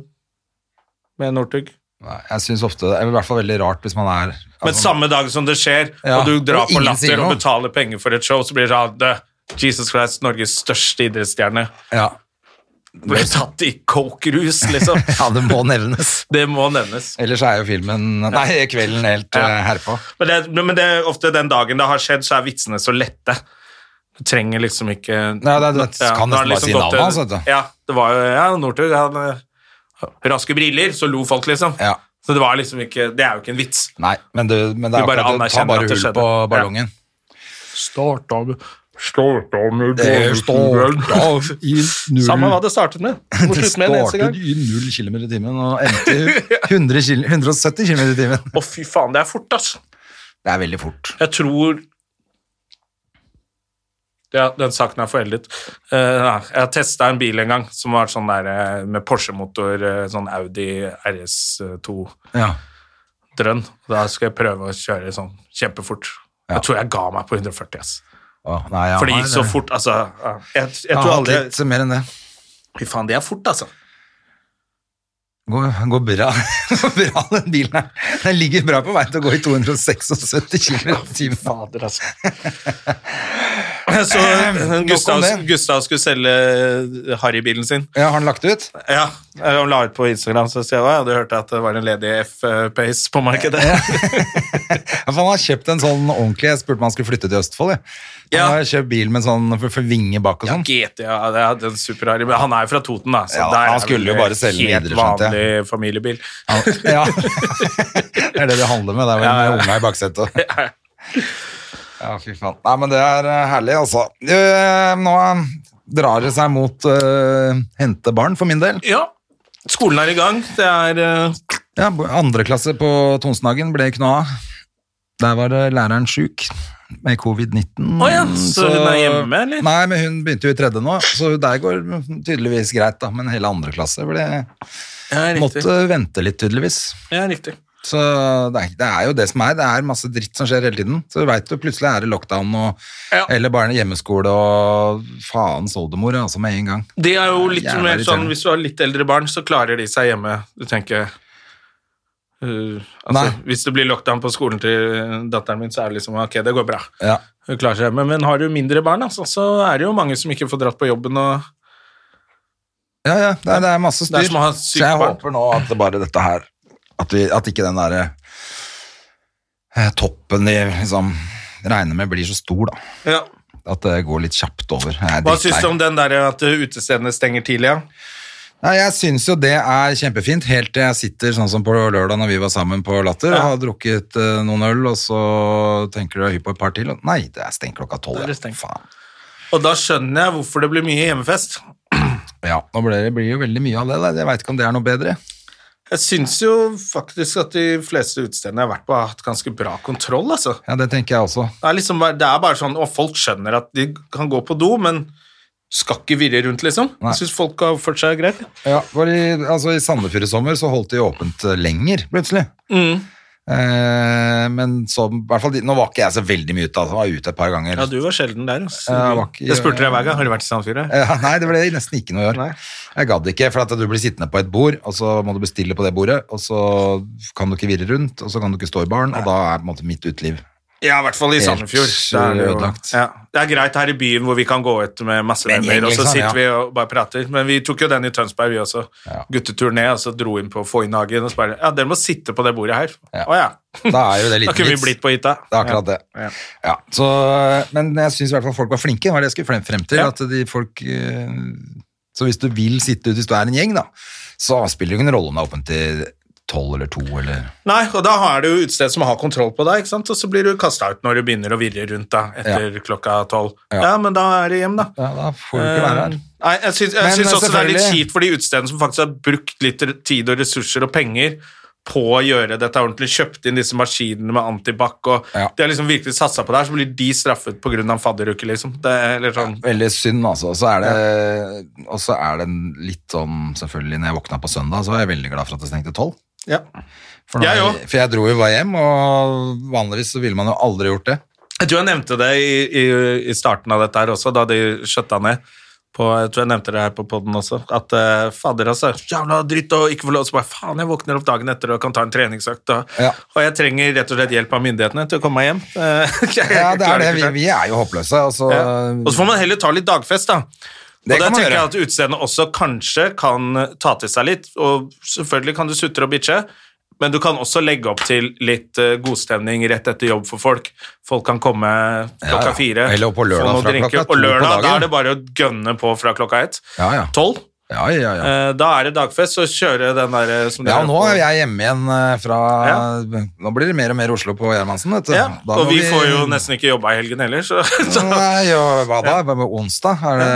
Speaker 1: med Northug.
Speaker 2: Nei, jeg synes ofte, det er i hvert fall veldig rart hvis man er...
Speaker 1: Men
Speaker 2: altså-
Speaker 1: samme dag som det skjer,
Speaker 2: Ja,
Speaker 1: og du drar
Speaker 2: og
Speaker 1: på
Speaker 2: ingen
Speaker 1: latter
Speaker 2: sier noe.
Speaker 1: og betaler penger for et show, så blir det sånn «Dø, Jesus Christ, Norges største idrettsstjerne,
Speaker 2: Ja.
Speaker 1: ble tatt i coke-rus, liksom.
Speaker 2: ja, det må nevnes.
Speaker 1: Det må nevnes.
Speaker 2: Ellers er jo filmen Nei, kvelden helt
Speaker 1: Ja.
Speaker 2: ja. herpå.
Speaker 1: Men det, men det er ofte den dagen det har skjedd, så er vitsene så lette. Du trenger liksom ikke
Speaker 2: Nei, det- det kan
Speaker 1: da har det
Speaker 2: nesten
Speaker 1: liksom
Speaker 2: bare si
Speaker 1: gått til-
Speaker 2: navnet hans, vet du.
Speaker 1: Ja, det var jo ja, Northug. Han eh, Raske briller, så lo folk, liksom.
Speaker 2: Ja.
Speaker 1: Så det var liksom ikke Det er jo ikke en vits.
Speaker 2: Nei, men, du, men det
Speaker 1: Du
Speaker 2: er
Speaker 1: bare
Speaker 2: akkurat det. Ta
Speaker 1: anerkjenner
Speaker 2: bare
Speaker 1: at det skjedde.
Speaker 2: hull på ballongen.
Speaker 1: Starta med Starta med
Speaker 2: i null
Speaker 1: Samme hva det startet med. Du må
Speaker 2: Det
Speaker 1: slutte med en eneste gang.
Speaker 2: startet i null kilometer i timen og endte i 100 kil- 170 kilometer i timen.
Speaker 1: Å, fy faen, det er fort, ass.
Speaker 2: Det er veldig fort.
Speaker 1: Jeg tror Ja, den saken er foreldet. Eh, ja, jeg testa en bil en gang som var sånn der eh, med Porsche-motor, eh, sånn Audi RS2
Speaker 2: Ja.
Speaker 1: drønn. Da skulle jeg prøve å kjøre sånn kjempefort.
Speaker 2: Ja.
Speaker 1: Jeg tror jeg ga meg på 140, ass.
Speaker 2: Å, nei, ja,
Speaker 1: For det
Speaker 2: nei,
Speaker 1: gikk så fort, altså. ja. Jeg, jeg
Speaker 2: Jeg
Speaker 1: tror
Speaker 2: har hatt
Speaker 1: aldri
Speaker 2: litt mer enn det.
Speaker 1: Fy faen, det er fort, altså.
Speaker 2: Går, går bra. Går bra, den bilen her. Den ligger bra på vei til å gå i 276 km i timen.
Speaker 1: Fader, altså. Så eh,
Speaker 2: Nok om
Speaker 1: Gustav,
Speaker 2: det.
Speaker 1: Gustav skulle selge eh, Harry-bilen sin.
Speaker 2: Ja, har den lagt ut?
Speaker 1: Ja, eh, Han la ut på Instagram, så sier jeg «Å, ja, du hørte at det var en ledig F-pace på markedet.
Speaker 2: Ja, for han har kjøpt en sånn ordentlig Jeg spurte om han skulle flytte til Østfold. Jeg. Han
Speaker 1: Ja.
Speaker 2: har kjøpt bil med sånn for, for vinge bak og
Speaker 1: Ja,
Speaker 2: sånn.
Speaker 1: GT, ja, det er den superharry, men han er jo fra Toten, da. Så
Speaker 2: Ja,
Speaker 1: der
Speaker 2: han
Speaker 1: er
Speaker 2: skulle
Speaker 1: vel
Speaker 2: jo bare selge
Speaker 1: helt
Speaker 2: videre, skjønte jeg.
Speaker 1: vanlig familiebil.
Speaker 2: Ja. det er det det handler med. Det er vel
Speaker 1: Ja, ja.
Speaker 2: med unga i baksetet. Ja, fy faen. Nei, men det er eh, herlig, altså. Eh, Nå eh, drar det seg mot eh, hente barn, for min del.
Speaker 1: Ja, skolen er i gang. Det er eh,
Speaker 2: Ja, bo- Andre klasse på Tonsenhagen ble ikke noe av. Der var eh, læreren sjuk med covid-19.
Speaker 1: Å ja, så hun er hjemme, eller?
Speaker 2: Nei, men hun begynte jo i tredje nå, så der går tydeligvis greit, da. Men hele andre klasse ble,
Speaker 1: ja, riktig.
Speaker 2: måtte vente litt, tydeligvis.
Speaker 1: Ja, riktig.
Speaker 2: Så det er, det er jo det som er. Det er masse dritt som skjer hele tiden. Så du veit jo plutselig er det lockdown og
Speaker 1: Ja.
Speaker 2: eller bare hjemmeskole og faen soldemor, altså med en gang.
Speaker 1: Det er jo litt
Speaker 2: Jævla
Speaker 1: mer sånn,
Speaker 2: irriterende.
Speaker 1: Hvis du har litt eldre barn, så klarer de seg hjemme. Du tenker eh, altså,
Speaker 2: Nei.
Speaker 1: Hvis det blir lockdown på skolen til datteren min, så er det liksom ok, det går bra.
Speaker 2: Ja.
Speaker 1: Hun klarer seg hjemme. Men har du mindre barn, altså, så er det jo mange som ikke får dratt på jobben. og...
Speaker 2: Ja, ja, det er, det er masse styr.
Speaker 1: Det er som å ha et
Speaker 2: så
Speaker 1: sykt
Speaker 2: jeg
Speaker 1: barn.
Speaker 2: håper nå at det bare dette her At, vi, at ikke den derre eh, toppen de liksom regner med blir så stor, da.
Speaker 1: Ja.
Speaker 2: At det går litt kjapt over. Jeg er
Speaker 1: Hva
Speaker 2: drittlei.
Speaker 1: syns du om den der at uh, utestedene stenger tidlig? Ja?
Speaker 2: Nei, jeg syns jo det er kjempefint, helt til jeg sitter sånn som på lørdag når vi var sammen på Latter,
Speaker 1: Ja.
Speaker 2: og har drukket eh, noen øl, og så tenker du er hypp på et par til, og nei, det er stengt klokka tolv.
Speaker 1: Da er det
Speaker 2: ja.
Speaker 1: stengt.
Speaker 2: Faen.
Speaker 1: Og da skjønner jeg hvorfor det blir mye hjemmefest.
Speaker 2: Ja, nå blir det blir jo veldig mye av det, da. jeg veit ikke om det er noe bedre.
Speaker 1: Jeg syns jo faktisk at de fleste utestedene jeg har vært på, har hatt ganske bra kontroll. altså.
Speaker 2: Ja, det tenker jeg også.
Speaker 1: Det er liksom bare, det er bare sånn, Og folk skjønner at de kan gå på do, men skal ikke virre rundt, liksom.
Speaker 2: Nei.
Speaker 1: Jeg syns folk har oppført seg greit.
Speaker 2: Ja, for i, altså, I Sandefjord i sommer så holdt de åpent eh, lenger, plutselig.
Speaker 1: Mm.
Speaker 2: Eh, men så, i hvert fall, de, nå var ikke jeg så veldig mye ute, altså. Jeg var ute et par ganger.
Speaker 1: Ja, du var sjelden der. altså.
Speaker 2: Ja, var ikke-
Speaker 1: jeg spurte deg hver gang har du vært i Sandefjord. her?»
Speaker 2: Ja, nei, det ble nesten ikke noe i år.
Speaker 1: Nei.
Speaker 2: Jeg gadd ikke, for at du blir sittende på et bord, og så må du bestille på det bordet, og så kan du ikke virre rundt, og så kan du ikke stå i baren, og da er på en måte mitt uteliv.
Speaker 1: Ja, i hvert fall i
Speaker 2: Helt
Speaker 1: Sandefjord. Da er det,
Speaker 2: ødelagt.
Speaker 1: jo, ja. det er greit her i byen hvor vi kan gå ut med masse
Speaker 2: Med en
Speaker 1: venner,
Speaker 2: gjeng,
Speaker 1: og så
Speaker 2: liksom,
Speaker 1: sitter
Speaker 2: ja.
Speaker 1: vi og bare prater. Men vi tok jo den i Tønsberg, vi også.
Speaker 2: Ja.
Speaker 1: Gutteturné, og så dro inn på Foynhagen og så bare Ja, dere må sitte på det bordet her.
Speaker 2: Ja.
Speaker 1: Å ja.
Speaker 2: Da er jo det
Speaker 1: Da
Speaker 2: litt
Speaker 1: kunne vi blitt på hytta.
Speaker 2: Det er akkurat det.
Speaker 1: Ja.
Speaker 2: Ja, så, men jeg syns i hvert fall folk var flinke, var det jeg skulle frem, frem til.
Speaker 1: Ja.
Speaker 2: At de folk eh, Så hvis du vil sitte ute, hvis du er en gjeng, da, så spiller det ingen rolle om det er åpent til tolv eller to eller
Speaker 1: Nei, og da er det jo utested som har kontroll på deg, ikke sant? og så blir du kasta ut når du begynner å virre rundt da, etter klokka tolv.
Speaker 2: Ja.
Speaker 1: Ja. men da er det hjem, da.
Speaker 2: Ja, da får du ikke være her.
Speaker 1: Eh, Nei, jeg syns, jeg
Speaker 2: Men,
Speaker 1: syns også det er litt
Speaker 2: selvfølgelig-
Speaker 1: kjipt for de utestedene som faktisk har brukt litt tid og ressurser og penger på å gjøre dette ordentlig, kjøpt inn disse maskinene med antibac og
Speaker 2: Ja.
Speaker 1: De har liksom virkelig satsa på det her, så blir de straffet pga. en fadderuke, liksom. Det er litt sånn
Speaker 2: Veldig synd, altså. Og så er det, og så er det en litt sånn Selvfølgelig, når jeg våkna på søndag, så var jeg veldig glad for at det stengte tolv.
Speaker 1: Ja.
Speaker 2: For, nå-
Speaker 1: Jeg òg.
Speaker 2: for jeg dro jo bare hjem, og vanligvis så ville man jo aldri gjort det.
Speaker 1: Jeg tror jeg nevnte det i, i, i starten av dette her også, da de skjøtta ned. På, jeg tror jeg nevnte det her på poden også, at eh, fader, altså. Jævla dritt og ikke få lov. Så bare faen, jeg våkner opp dagen etter og kan ta en treningsøkt. Og,
Speaker 2: Ja.
Speaker 1: og jeg trenger rett og slett hjelp av myndighetene til å komme meg hjem. Eh, jeg
Speaker 2: Ja, det
Speaker 1: klarer
Speaker 2: er det.
Speaker 1: ikke
Speaker 2: Vi,
Speaker 1: selv.
Speaker 2: vi er jo håpløse. Og så,
Speaker 1: Ja. Og så får man heller ta litt dagfest, da.
Speaker 2: Det
Speaker 1: og der
Speaker 2: kan man
Speaker 1: tenker
Speaker 2: gjøre.
Speaker 1: jeg at utestedene også kanskje kan eh, ta til seg litt. Og selvfølgelig kan du sutre og bitche, men du kan også legge opp til litt eh, godstemning rett etter jobb for folk. Folk kan komme klokka
Speaker 2: Ja, ja.
Speaker 1: fire.
Speaker 2: Eller på lørdag
Speaker 1: få noen
Speaker 2: fra klokka to
Speaker 1: Og lørdag,
Speaker 2: på dagen.
Speaker 1: da er det bare å gønne på fra klokka ett.
Speaker 2: ja, ja.
Speaker 1: Tolv.
Speaker 2: ja, ja, ja.
Speaker 1: Eh, Da er det dagfest, så kjøre den der eh, som
Speaker 2: Ja,
Speaker 1: dere-
Speaker 2: nå er jeg hjemme igjen eh, fra Nå blir det mer og mer Oslo på Gjermansen, vet du.
Speaker 1: ja,
Speaker 2: Da
Speaker 1: og
Speaker 2: må
Speaker 1: vi får jo nesten ikke jobba i helgen heller, så, så
Speaker 2: Nei, ja, hva da? Hva med onsdag? Er det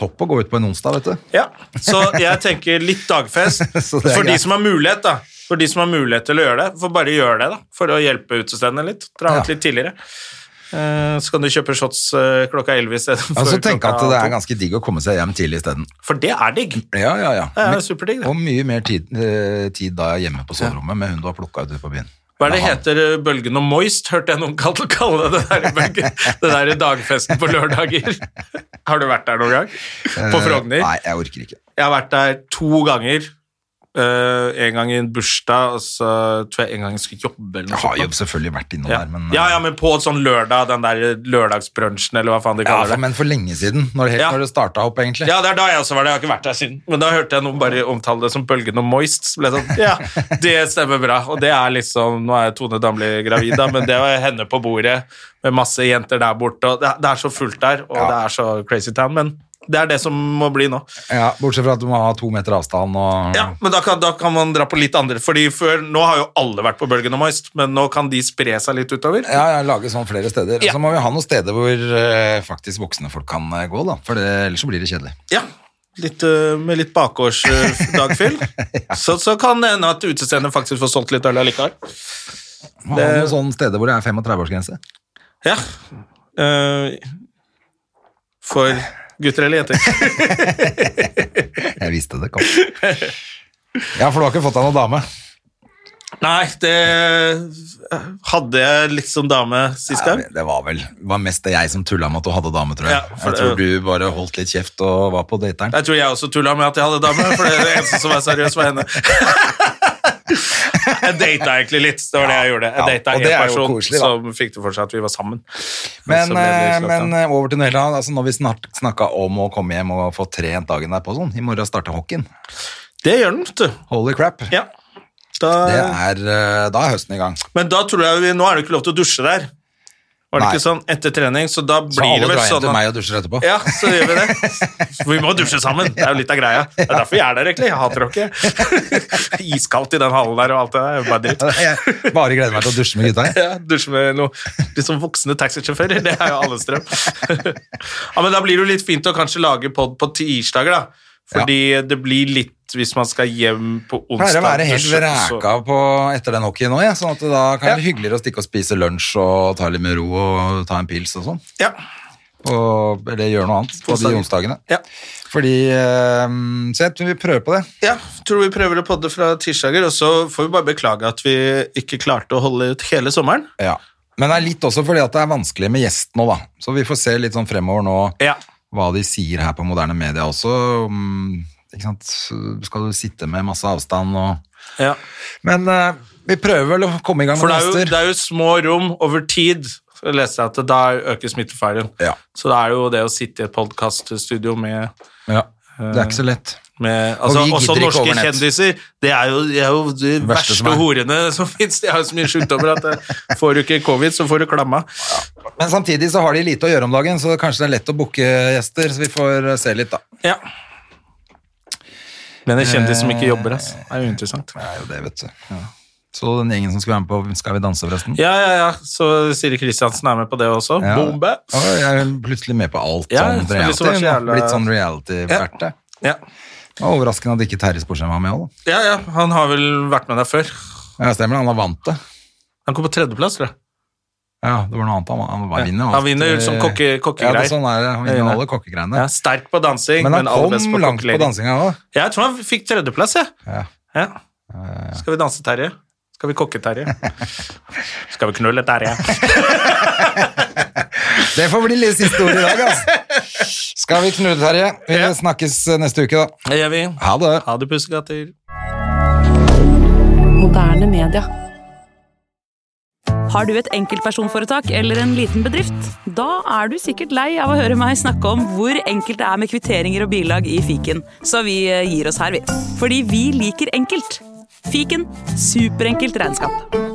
Speaker 2: topp å gå ut på en onsdag, vet du?
Speaker 1: Ja, så jeg tenker litt dagfest
Speaker 2: Så
Speaker 1: for
Speaker 2: det er
Speaker 1: de
Speaker 2: greit.
Speaker 1: som har mulighet, da. For de som har mulighet til å gjøre det, får bare gjøre det, da. For å hjelpe utestedene litt. Dra ut
Speaker 2: Ja.
Speaker 1: litt tidligere. Eh, Så kan du kjøpe shots eh, klokka 11 istedenfor
Speaker 2: Og så tenke at
Speaker 1: klokka
Speaker 2: det
Speaker 1: to.
Speaker 2: er ganske digg å komme seg hjem tidlig isteden.
Speaker 1: For det er digg.
Speaker 2: Ja, ja, ja.
Speaker 1: Det er
Speaker 2: Men-
Speaker 1: jo superdigg, det.
Speaker 2: Og mye mer tid, eh, tid da hjemme på soverommet med hun du har plukka ute på byen.
Speaker 1: Hva er det
Speaker 2: Eller han.
Speaker 1: heter eh, bølgen og moist, hørte jeg noen kalle kalle det der, i bølgen, det der i dagfesten på lørdager. Har du vært der noen gang? På
Speaker 2: Eh,
Speaker 1: Frogner?
Speaker 2: Nei, jeg orker ikke.
Speaker 1: Jeg har vært der to ganger. Eh, en gang i en bursdag, og så tror jeg en gang jeg skulle jobbe. eller noe
Speaker 2: Jeg har jo
Speaker 1: sånt.
Speaker 2: selvfølgelig vært innom
Speaker 1: ja.
Speaker 2: der, men eh,
Speaker 1: ja, ja, men på et sånn lørdag, den der lørdagsbrunsjen, eller hva faen de
Speaker 2: Ja,
Speaker 1: kaller
Speaker 2: for,
Speaker 1: det.
Speaker 2: men for lenge siden, når, helt,
Speaker 1: Ja.
Speaker 2: når det starta opp, egentlig.
Speaker 1: Ja, det er da jeg også var det. Jeg har ikke vært der siden. Men da hørte jeg noen bare omtale det som bølgen og moist. Så ble jeg sånn, ja, det stemmer bra. Og det er liksom Nå er Tone Damli gravid, da, men det var henne på bordet med masse jenter der borte. Og det, er- det er så fullt der, og
Speaker 2: Ja.
Speaker 1: det er så crazy town. Men det er det som må bli nå.
Speaker 2: Ja, bortsett fra at du må ha to meter avstand og
Speaker 1: Ja, men da kan, da kan man dra på litt andre. Fordi før, Nå har jo alle vært på Bølgen og Moist, men nå kan de spre seg litt utover.
Speaker 2: Ja, ja, lage sånn flere steder.
Speaker 1: Ja.
Speaker 2: Så må vi ha noen steder hvor eh, faktisk voksne folk kan eh, gå, da. For det, ellers så blir det kjedelig.
Speaker 1: Ja, litt, øh, Med litt eh, bakgårdsdagfyll. så, så kan det hende at utestedet faktisk får solgt litt øl allikevel.
Speaker 2: Må
Speaker 1: Det-
Speaker 2: ha noen sånne steder hvor det er 35-årsgrense.
Speaker 1: Ja. Eh, for gutter eller jenter.
Speaker 2: Jeg visste det kom. Ja, for du har ikke fått deg noen dame.
Speaker 1: Nei, det eh, Hadde jeg liksom dame sist gang?
Speaker 2: Ja, det var vel det var mest det jeg som tulla med at du hadde dame, tror jeg.
Speaker 1: Ja, for
Speaker 2: jeg
Speaker 1: det-
Speaker 2: tror du bare holdt litt kjeft og var på dateren.
Speaker 1: Jeg tror jeg også tulla med at jeg hadde dame, for det eneste som var seriøs, var henne. Jeg data egentlig litt, det var det jeg gjorde. Jeg
Speaker 2: Ja,
Speaker 1: data
Speaker 2: og
Speaker 1: en
Speaker 2: det er jo
Speaker 1: person
Speaker 2: koselig, da.
Speaker 1: som fikk det for seg at vi var sammen.
Speaker 2: Men,
Speaker 1: Så ble det
Speaker 2: eh,
Speaker 1: slått
Speaker 2: men
Speaker 1: av.
Speaker 2: eh, over til Nøyla. Altså, når vi snart snakka om å komme hjem og få trent dagen derpå sånn, i morgen starter hockeyen.
Speaker 1: Det gjør den, vet du.
Speaker 2: Holy crap.
Speaker 1: Ja. Da,
Speaker 2: Det er, eh, da er høsten i gang.
Speaker 1: men da tror jeg vi Nå er det ikke lov til å dusje der. Var det
Speaker 2: Nei.
Speaker 1: ikke sånn etter trening, så da
Speaker 2: Så
Speaker 1: blir det
Speaker 2: alle drar
Speaker 1: vel
Speaker 2: hjem
Speaker 1: sånn
Speaker 2: til
Speaker 1: at
Speaker 2: meg og dusjer etterpå.
Speaker 1: ja, så gjør vi det. For Vi må dusje sammen. Det er jo litt av greia. Det er derfor vi er der, egentlig. Jeg hater dere. Iskaldt i den hallen der og alt det der. Bare dritt.
Speaker 2: Jeg bare gleder meg til å dusje med gutta. jeg.
Speaker 1: Ja, dusje med noe litt sånn voksne taxisjåfører. Det er jo alles drøm. ja, men da blir det jo litt fint å kanskje lage pod på tirsdager, da. Fordi det blir litt hvis man skal hjem på onsdag.
Speaker 2: Pleier å være helt
Speaker 1: dusje, så-
Speaker 2: ræka på etter den hockeyen nå, jeg. Sånn at det da kan
Speaker 1: altså. Ja.
Speaker 2: det være hyggeligere å stikke og spise lunsj og ta litt med ro og ta en pils og sånn.
Speaker 1: Ja,
Speaker 2: Og- Eller gjøre noe annet på de onsdagene.
Speaker 1: ja.
Speaker 2: Fordi eh, Så jeg tror vi prøver på det.
Speaker 1: ja, tror vi prøver å podde fra tirsdager, og så får vi bare beklage at vi ikke klarte å holde ut hele sommeren.
Speaker 2: Ja. Men det er litt også fordi at det er vanskelig med gjest nå, da. Så vi får se litt sånn fremover nå
Speaker 1: Ja.
Speaker 2: hva de sier her på moderne media også. om- Ikke sant? Skal du sitte med masse avstand og
Speaker 1: ja.
Speaker 2: Men eh, vi prøver vel å komme i gang
Speaker 1: For
Speaker 2: med
Speaker 1: det er, jo,
Speaker 2: gjester.
Speaker 1: det er jo små rom over tid. Så leste jeg at det da øker smittefaren.
Speaker 2: Ja.
Speaker 1: Så det er jo det å sitte i et podkaststudio med,
Speaker 2: Ja. Det er ikke så lett.
Speaker 1: med altså,
Speaker 2: vi gidder
Speaker 1: også
Speaker 2: ikke
Speaker 1: norske
Speaker 2: over nett.
Speaker 1: kjendiser. Det er jo, de, er jo de verste,
Speaker 2: Verste som er.
Speaker 1: horene som fins. De har jo så mye sykdommer at eh, får du ikke covid, så får du klamma.
Speaker 2: Men samtidig så har de lite å gjøre om dagen, så kanskje det er lett å booke gjester. Så vi får eh, se litt, da.
Speaker 1: Ja. Men en kjendis som
Speaker 2: Eh,
Speaker 1: ikke jobber, ass. Det er jo interessant.
Speaker 2: Det er jo det, vet du. Så den gjengen som skulle være med på Skal vi danse, forresten?
Speaker 1: Ja, ja, ja. Så Siri Kristiansen er med på det også.
Speaker 2: Ja.
Speaker 1: Bombe!
Speaker 2: Å, jeg er plutselig med på alt
Speaker 1: Ja,
Speaker 2: sånn
Speaker 1: så liksom var så
Speaker 2: reality. Hun har
Speaker 1: jævla-
Speaker 2: Blitt sånn reality-verte.
Speaker 1: Ja.
Speaker 2: Det var Overraskende at ikke Terje Sporsheim var med òg, da.
Speaker 1: ja, ja. Han har vel vært med der før.
Speaker 2: Ja, stemmer det. Han har vant det.
Speaker 1: Han kom på tredjeplass, tror jeg.
Speaker 2: Ja, det var noe annet. Han, han var- vinner. altså.
Speaker 1: Ja, han vinner sånn kokke- kokkegreier.
Speaker 2: Ja, det er sånn er det. Han vinner alle kokkegreiene.
Speaker 1: Ja, sterk på dansing,
Speaker 2: men
Speaker 1: men,
Speaker 2: han
Speaker 1: aller best
Speaker 2: kom
Speaker 1: på
Speaker 2: langt på
Speaker 1: kokkelering.
Speaker 2: dansinga òg.
Speaker 1: Jeg tror han fikk tredjeplass, jeg.
Speaker 2: Ja.
Speaker 1: Ja. Skal vi danse, Terje? Skal vi kokke, Terje? Skal vi knulle, Terje?
Speaker 2: Det får bli litt siste ord i dag, altså. Skal vi knulle, Terje? Vi
Speaker 1: Ja.
Speaker 2: snakkes neste uke, da.
Speaker 1: Det gjør vi.
Speaker 2: Ha det.
Speaker 1: Ha det, pussekatter.
Speaker 3: Moderne media.
Speaker 4: Har du et enkeltpersonforetak eller en liten bedrift? Da er du sikkert lei av å høre meg snakke om hvor enkelt det er med kvitteringer og bilag i fiken, så vi eh, gir oss her, vi. Fordi vi liker enkelt. Fiken superenkelt regnskap.